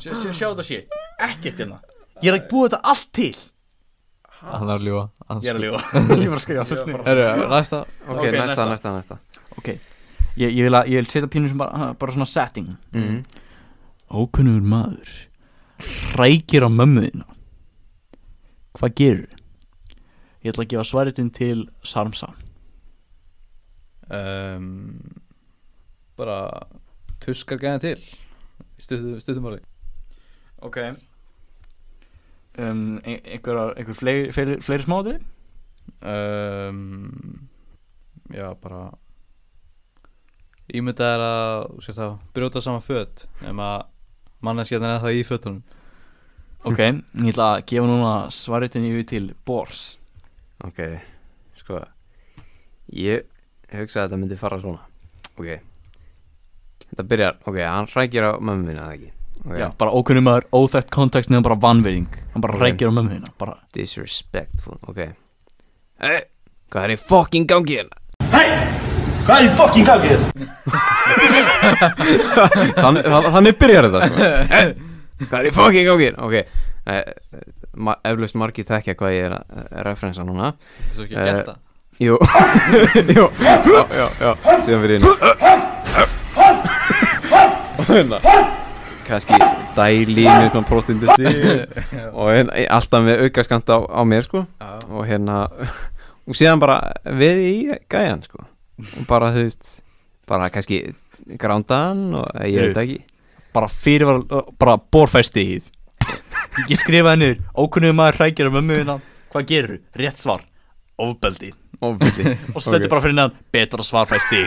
Sjá sjá þetta sé Ekkert hérna Ég er að búa þetta allt til
Hann er að ljúa
Ég er að lífa
Ég var að skrifa fullt niður
Herru, næsta
Ok,
Ok,
næsta,
næsta.
næsta, næsta
Ok, ég, ég, vil að, ég vil setja pínu sem bara, bara svona setting
mm.
Ókunnur maður Rækir á mömmuðina Hvað gerur? Ég ætla að gefa svaritin til Sarmsa
um, Bara Tuskar gæðan til Í stuttu- stuttu máli
Ok
um, ein- einhverjar, einhver fleiri, fleiri, fleiri smáðri
um, Já, bara Ímynda er að þú sért að brjóta saman föt Nefn að manneskjarnir er það í fötunum
Ok, ég ætla að gefa núna svaritin yfir til Bors
Ok, sko Ég hugsa að þetta myndi fara svona Ok Þetta byrjar, ok, hann hrækir á mömmu minna eða ekki okay.
Já, bara ókunnum maður, óþægt kontekst nefnum bara vanveiðing Hann bara
Ok.
rækir á mömmuðina bara.
Disrespectful, ok Hey, hvað er í fucking gangi hérna? Hey, hvað er í fucking gangi hérna? Þann, þannig byrjar þetta sko. hey, Hvað er í fucking gangi hérna? Ok, eh, ma eflaust margir tekja hvað ég er að eh, referensa núna
Þetta er svo ekki að
Eh,
geta
Jú Jú Já, já, já Síðan fyrir inn Og hérna kannski dæli með svona prótindusti og hérna, alltaf með aukaskant á, á mér sko og hérna og síðan bara við í gæjan sko og bara þú veist bara kannski grándan og ég veit ekki
bara fyrir var, bara borfæsti í því Ég skrifaði niður, ókunnum maður rækir á mömmuðina Hvað gerur? Rétt svar, ofbeldi
ofbeldi
Og stöndi
Ok.
bara fyrir neðan, betra svar fæsti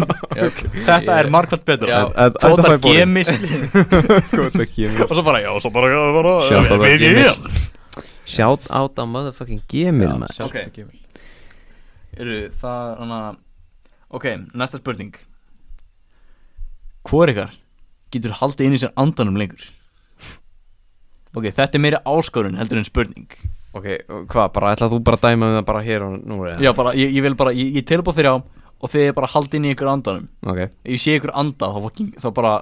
Þetta er markvært betra
Já, þetta- þetta
Kvótar
fær borinn.
gemil
Góð að kemur
Og svo bara, já, og svo bara, bara
Shout out að
við- við-
Gemil. Shout out á motherfucking gemil maður
Sjálft
ok.
ekki vel
Eru það hana Ok, næsta spurning
hvor ykkar getur haldið inn í sér andanum lengur ok, þetta er meira áskorun heldur en spurning
ok, og hvað, bara ætlað þú bara að dæma með það bara hér og nú eða?
já, bara, ég, ég vil bara, ég, ég telur bara þrjá og þið er bara haldið inn í ykkur andanum
ok,
ef ég sé ykkur anda, þá, fucking, þá bara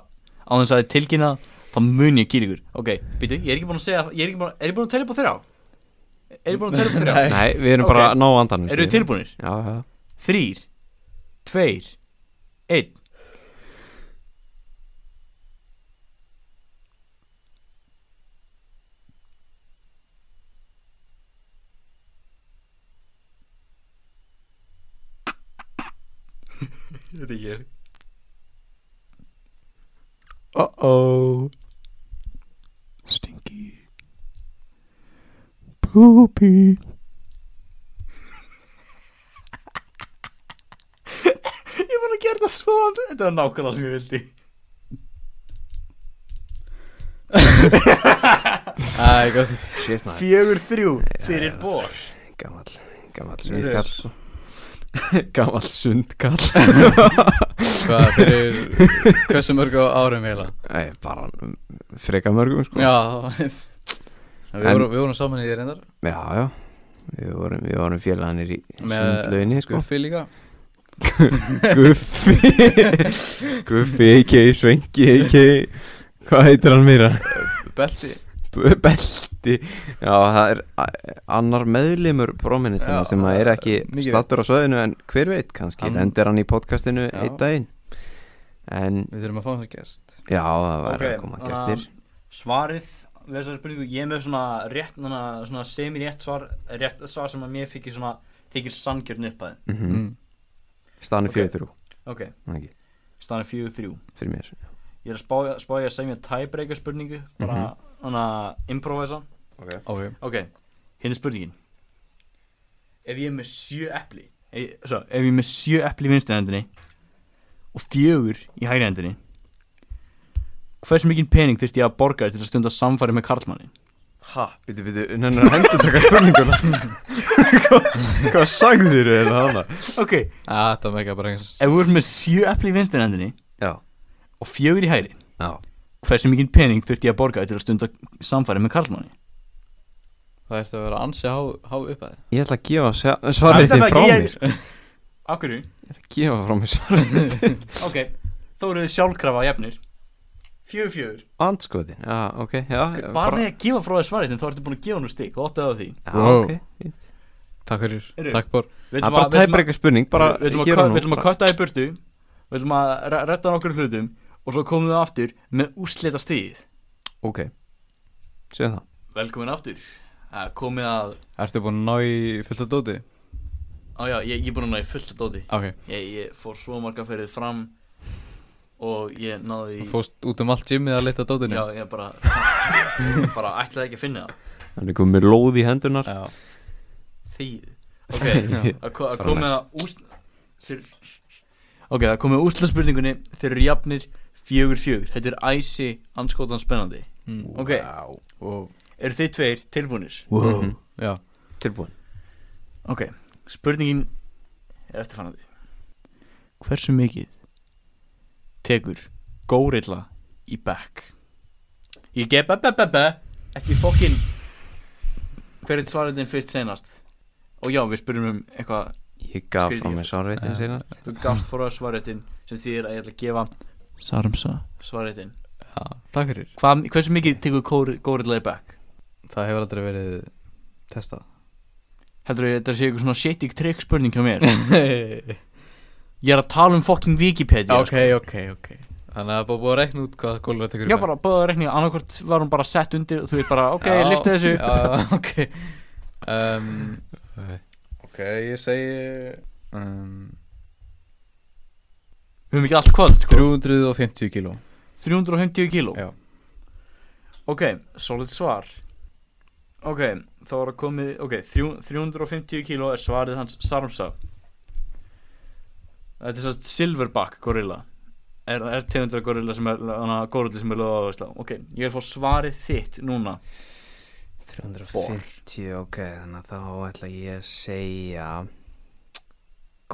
á þess að þið tilkynna, þá mun ég kýr ykkur ok, býtu, ég er ekki búin að segja ég er, ekki búin, að- er ég búin að telja upp á þrjá? er ég búin að telja upp á þrjá?
nei, við erum bara
Ok.
að ná andanum
eru þið
skilur.
tilbúinir?
já, já
þrýr, tveir, einn
Þetta er ég
Uh-oh. Stinky. Poopy. ég var að gera það svo Þetta var nákvæmlega sem ég vildi
Æ, gæstu
shit maður,
Fjögur þrjú fyrir bor
gammal, gammal sundkall sko. gammal sundkall
Hvað fyrir Hversu mörgu árum heila
Æ, bara freka mörgum sko
Já Við
En-
vorum, við vorum saman í því reyndar
já, já. Við, vorum, við vorum félagarnir í
Með-
sundlauginni sko.
Guffi líka
Guffi Guffi, ekki, svengi, ekki hvað heitir hann meira?
Belti
B- belti Já, það er a- annar meðlimur bróministina
Já,
sem að er ekki
mikið
stattur á söðinu en hver veit kannski
Hann-
lendir hann í podcastinu
Já.
einn daginn en
Við þurfum að fá hans að gest
já, það var
Ok,
að koma
þannig að-
gestir
Svarið við þessari spurningu Ég er með svona rétt svona, svona semi-rétt svar Rétt svar sem að mér fikk svona Þykir sangjörn upp að
mm -hmm. Stani
Ok.
fjöður þrjú,
Ok,
það ekki,
staðan er fjögur þrjú
fyrir mér
Ég er að spá, spá ég að segja mér tiebreaker spurningu Bara
Mhm.
mm -hmm. hana improvisa
Ok
Ok, hérna er spurningin Ef ég er með sjö epli ef, Svo, ef ég er með sjö epli í vinstri hendinni Og fjögur í hægri hendinni Hversu mikinn pening þurfti ég að borga þér til að stunda samfæri með karlmanni?
Ha, bitu, bitu, nennar hendur taka spurninguna hvað, hvað sagðir þér hana?
Ok,
Æ, Ah, þetta mega bara eins
ef við erum með sjö epli í vinstri hendinni
Já,
og fjögur í hægri
já,
Hversu mikinn pening þurfti ég að borga þér til að stunda samfæri með karlmanni?
Það ætti að vera ansi há, há uppæði
ég ætla að gefa svarriðin frá mér ég
Af hverju?
ætla að gefa frá mér svarriðin
Ok, þó eru þið sjálfkrafa jafnir fjögur fjögur
Andskotin, já, ok já, já,
Bara með að gefa frá þér svarið En þá ertu búin að gefa nú stig Og áttaðu á því
Já,
Wow.
ok
Takk fyrir,
Heyrðu.
takk bor
Það er bara tæpar eitthvað spurning Bara
Við ætlum að kö-
hér og nú
við ætlum að kötta í burtu Við ætlum að re- redda nokkur hlutum Og svo komum við aftur Með úrslita stigið
Ok, séu það
Velkomin aftur Það er komið að
Ertu búin að ná í fullt af dóti?
Á já, ég, ég er búin að ná í fullt að dóti
Ok,
ég, ég fór svo marga ferðið fram Og ég náði í
fóst út um allt gymmið að leita að dótinu
Já, ég bara Bara ætlaði ekki að finna það
Hann er komið með lóð í hendunar
Já.
Því Ok, að ko- að komið að úst Þeir
Ok, það er komið úrslita spurningunni Þeir eru jafnir fjögur fjögur Þetta er æsi anskotan spennandi
Mm.
Ok,
Wow.
eru þið tveir tilbúinir?
wow.
Já.
Tilbúin
Ok, spurningin er eftirfannandi Hversu mikið tekur górilla í back? Ég gef be be be be ekki fokkin hver er svarendin fyrst senast og já, við spurðum um eitthvað
Ég gaf
Skrítið
frá mér sárveitin
Já.
seinast
þú gafst fór að svarendin sem þýðir að ég ætla að gefa Sarmsa svarendin
Já, takk fyrir
Hva, Hversu mikið tekur góri- górilla í back?
Það hefur aldrei verið testað
Heldur þú að þetta sé eitthvað svona shitty trick spurning hjá mér?
Mm. Ok,
Ég er að tala um fokkin Wikipedia sko.
ok, ok Þannig að það er bara búið að rekna út hvað gólur tekur í
Já,
bæ.
bara bóða reikninga, annarkvort var hún bara sett undir og þú er bara, ok,
Já,
lifta þessu
Já, ok um, Ok, ég segi um,
Við höfum ekki allt kvöld, sko
350 kíló
350 kíló
Já.
Ok, solid svar Ok, þá var að komið, ok, þrjú, 350 kíló er svarið hans Sarmsa Þetta er sérst Silverback gorilla Er, er tegundra gorilla sem er, hana, gorilla sem er löða á Ísla Ok, ég er að fá svarið þitt núna
350, ok, þannig að þá ætla ég að segja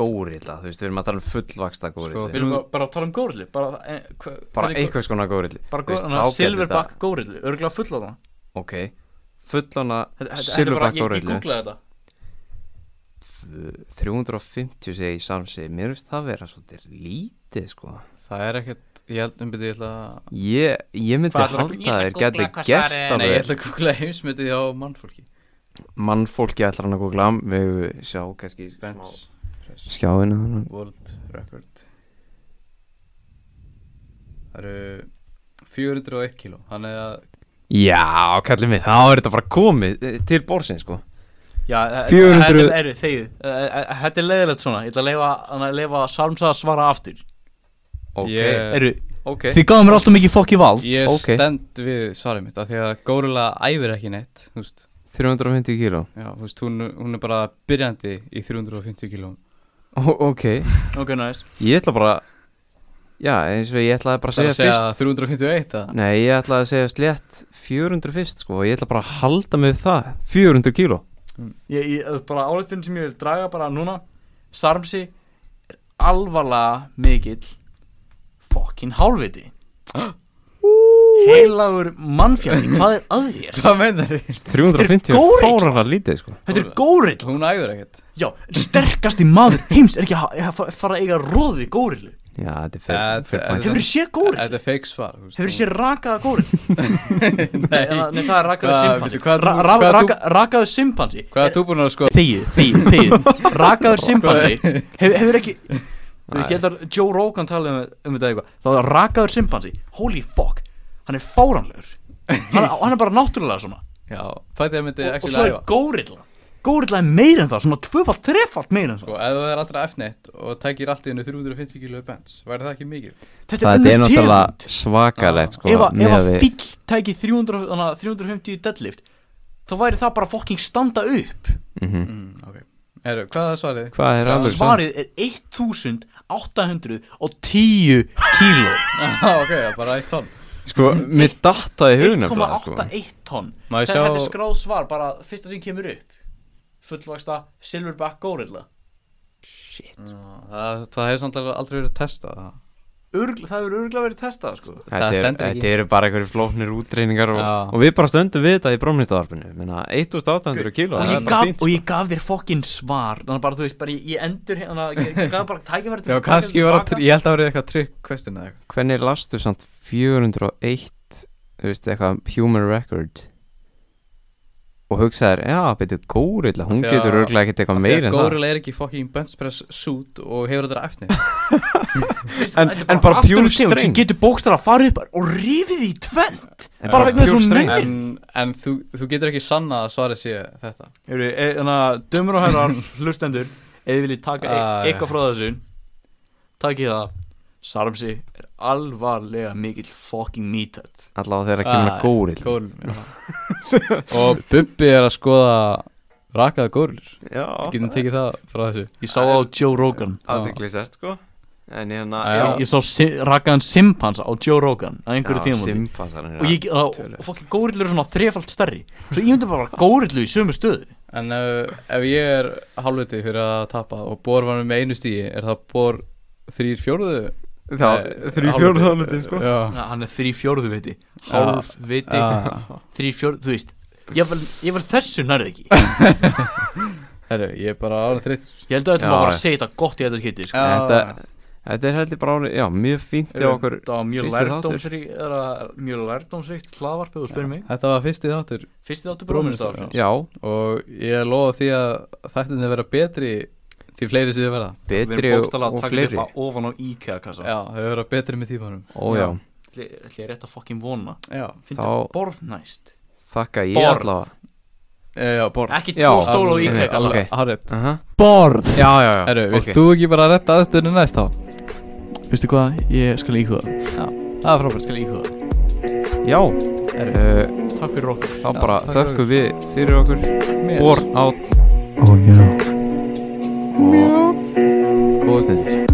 Górilla, þú veist, við erum að tala um fullvaksta górilla
Sko,
Við erum bara, bara að tala um gorillu Bara, eh, hva,
Bara
hvernig-
einhvers konar górilla
bara
þú veist,
gorilla,
þá gæti
Silverback gorillu, örgulega full á það
Ok, fullana
Þetta- þetta- þetta er bara-
Silverback
ég- Ég
górillu
googlaði þetta
350 segi ég samsi Mér finnst það vera svolítið lítið, sko
Það er ekkert, ég held um byrju, ég ætla að
Ég, ég myndi
Hvað ætlarðu að- Ég ætla
halda að
að
þeir
googla
gæti
hvað svarið
gert
er.
Nei, ég
alveg
ætla að googla heimsmyndið á mannfólki
Mannfólki ætlar hann að googla Við höfum sjá kannski smá
Benz
skjáinu hann
World Record Það eru 401 kíló Þannig að
Já, kallið mig, þá er þetta bara komið eh, til borsin, sko
Já, eh,
400
þetta er- eru, þegið. Eh, eh, eh, Þetta er leiðilegt svona Ég ætla að leifa- að leifa Salmsa að svara aftur
Ok,
Ég-
Eru,
ok
Þið gáðum mér alltaf mikið fokki vald
Ég
Ok.
stend við svarið mitt af Því að Górila æfir ekki neitt Þú veist,
350 kíló
já, þú veist hún, hún er bara byrjandi í 350 kíló
Ó, Ok,
Ok, næs
ég ætla bara Já, eins og ég ætlaði bara að
Það er
segja,
að segja
fyrst
351 að
Nei, ég ætlaði að segja slétt 400 fyrst, sko og Ég ætla bara að halda mig við það 400 kíló
Ég, ég eh, bara áleitin sem ég vil draga bara núna Sarmsi er alvarlega mikill fokkin hálfviti Heilagur mannfjörning Hvað er að þér?
Hvað meinar þið?
350
góri,
er
sko.
fárana lítið, sko
Þetta er górill
Hún æfir ekkert
Já, sterkasti maður heims er ekki að ha- að fara að eiga róði górillu
Já, þetta
Þetta-
er fyrir,
þetta-
Hefur
fyrir point.
þið séð
Þetta
górillu?
er fake svar þú veist,
Hefur þið
hún-
séð rakaða górillu? nei, það- nei, það er rakaðu
Hvað-
simpansi
veitu, hvað
ra
þú-
ra
hvað þú-
raka, Rakaðu simpansi
Hvað er þú búin að sko
Þegið, þegið, þegið Rakaður simpansi hefur, hefur ekki Þú veist, ég held að Joe Rogan talaði um, um þetta eitthvað Það var rakaður simpansi Holy fuck Hann er fáranlegur Hann, hann er bara náttúrulega svona
Já, fætti að myndi
Og, og
ekki
svo er
æfa
górilla Górilla er meira en það Svona tvöfalt, trefalt meira en það
Sko, ef þú er aldrei F-net og tækir allt í hennu 350 kíló bens Væri það ekki mikið?
Þetta
Það
önnur
er
tegund.
náttúrulega svakalegt, sko
Ef að- Ef
miðað
að
við-
fíll tæki 300, þannig að 350 deadlift Þá væri það bara fucking standa upp
Mhm.
Mm, ok Heru, Hvað er svarið?
Hvað er alveg svo?
Svarið er 1810 kíló
Já, ok, já, bara eitt tonn
Sko, mér datta í
sko.
hugnum
1,81 tonn
Má ég
Þetta
sjá-
þetta er skráð svar, bara fyrsta sem kemur upp Fullvaxta Silverback Gorilla
Það, það hefur samt alveg aldrei verið testað það
örgl, það hefur örgla verið testað sko.
Þetta, er,
stendur ekki.
þetta eru bara einhverju flóknir útreiningar og,
Já.
og við bara stöndum við þetta í brómlistavarpinu Menna 1800 kíló
og,
það
ég
er bara
gaf,
fínt, sko.
og ég gaf þér fokkin svar þannig að bara þú veist bara ég, ég endur hérna ég ég gaf bara tækifæri til
Já,
að taka
kannski
þetta
var
tilbaka.
að, ég held að það var eitthvað trygg question eða eitthvað.
Hvernig lastu samt 401 þú veist eitthvað human record og hugsaðir já, betur górilla, hún
Af því að-
getur örglega ekkert eitthvað meir en það
Górilla er ekki fucking bench press suit og hefur þetta efni.
Veist,
en-
þetta er
en bara
allt
pure
önnur tegund sem
strengd.
getur bókstara að fara upp bara og rífið í tvend
En
bara vegna þess að hún
pure strength.
En, en þú, þú getur ekki sanna að svarið sé þetta.
e, þannig að dömur og herrar hlustendur eða þið viljið taka e
Æ.
eitthvað frá þessu takið það Sarmsi er alvarlega mikill fucking meathead
allavega þegar það
Ah,
kemur að górilla
Górilla. og Bubbi er að skoða rakaða górillir. Við getum tekið það frá þessu.
ég sá á Joe Rogan
aðdeglisert sko en hérna,
Já,
ég, ég sá si rakaðan simpansa á Joe Rogan á einhverju
já,
tíma
simpansar
og ég, og, og fokkin górillu eru svona þrefald stærri svo ég myndi bara górillu í sömu stöðu
En ef, ef ég er halvviti fyrir að tapa og Bór var með einu stíi, er það Bór þrýr fjóruðu?
þá þrjú fjóru þálutin sko
Eh, Já.
Na, hann er þrý fjórðu viti hálf
Hálf
viti,
Já.
þrý fjórðu, þú veist ég vel, ég vel þessu nærði ekki
Herru, ég er bara ára þreytt.
ég held að
Já,
þetta var bara
já.
að segja þetta gott í þetta skiti sko.
þetta, þetta er heldur bara árið, já, mjög fínt hjá okkur
það var mjög
fyrsti
lærdómsríkt eða mjög lærdómsríkt hlaðvarpið og spyrir mig
Þetta var fyrsti þáttur
fyrst þið áttu
Brúnistafl.
bróðmyndstafn
já,
og ég lofa því að þættinni vera betri því fleiri sem þið verða.
við
betri
erum
og,
bókstala að
og
taka
fleiri
þetta bara ofan á IKEA kassa
Já, þau vera betri með tímanum.
og já,
ætli ætli ég rétt að fokkin vona
Já,
finnst
Þá-
borð næst
þakka ég
Borð.
allavega
e, já, Bór.
ekki tvo stóla á
alveg,
IKEA kassa
alveg.
Okay. Harrið.
Aha.
Borð
já, já, já,
Herru,
ok.
vilt þú ekki bara retta aðstöðinu næst þá?
Veistu hvað, ég skal íhuga það.
Það er frábært.
Skal íhuga það.
já, uh,
takk fyrir okkur
þá bara
takk
þökkum við fyrir okkur
Mér.
Bor átt
Ó já
og góða stundir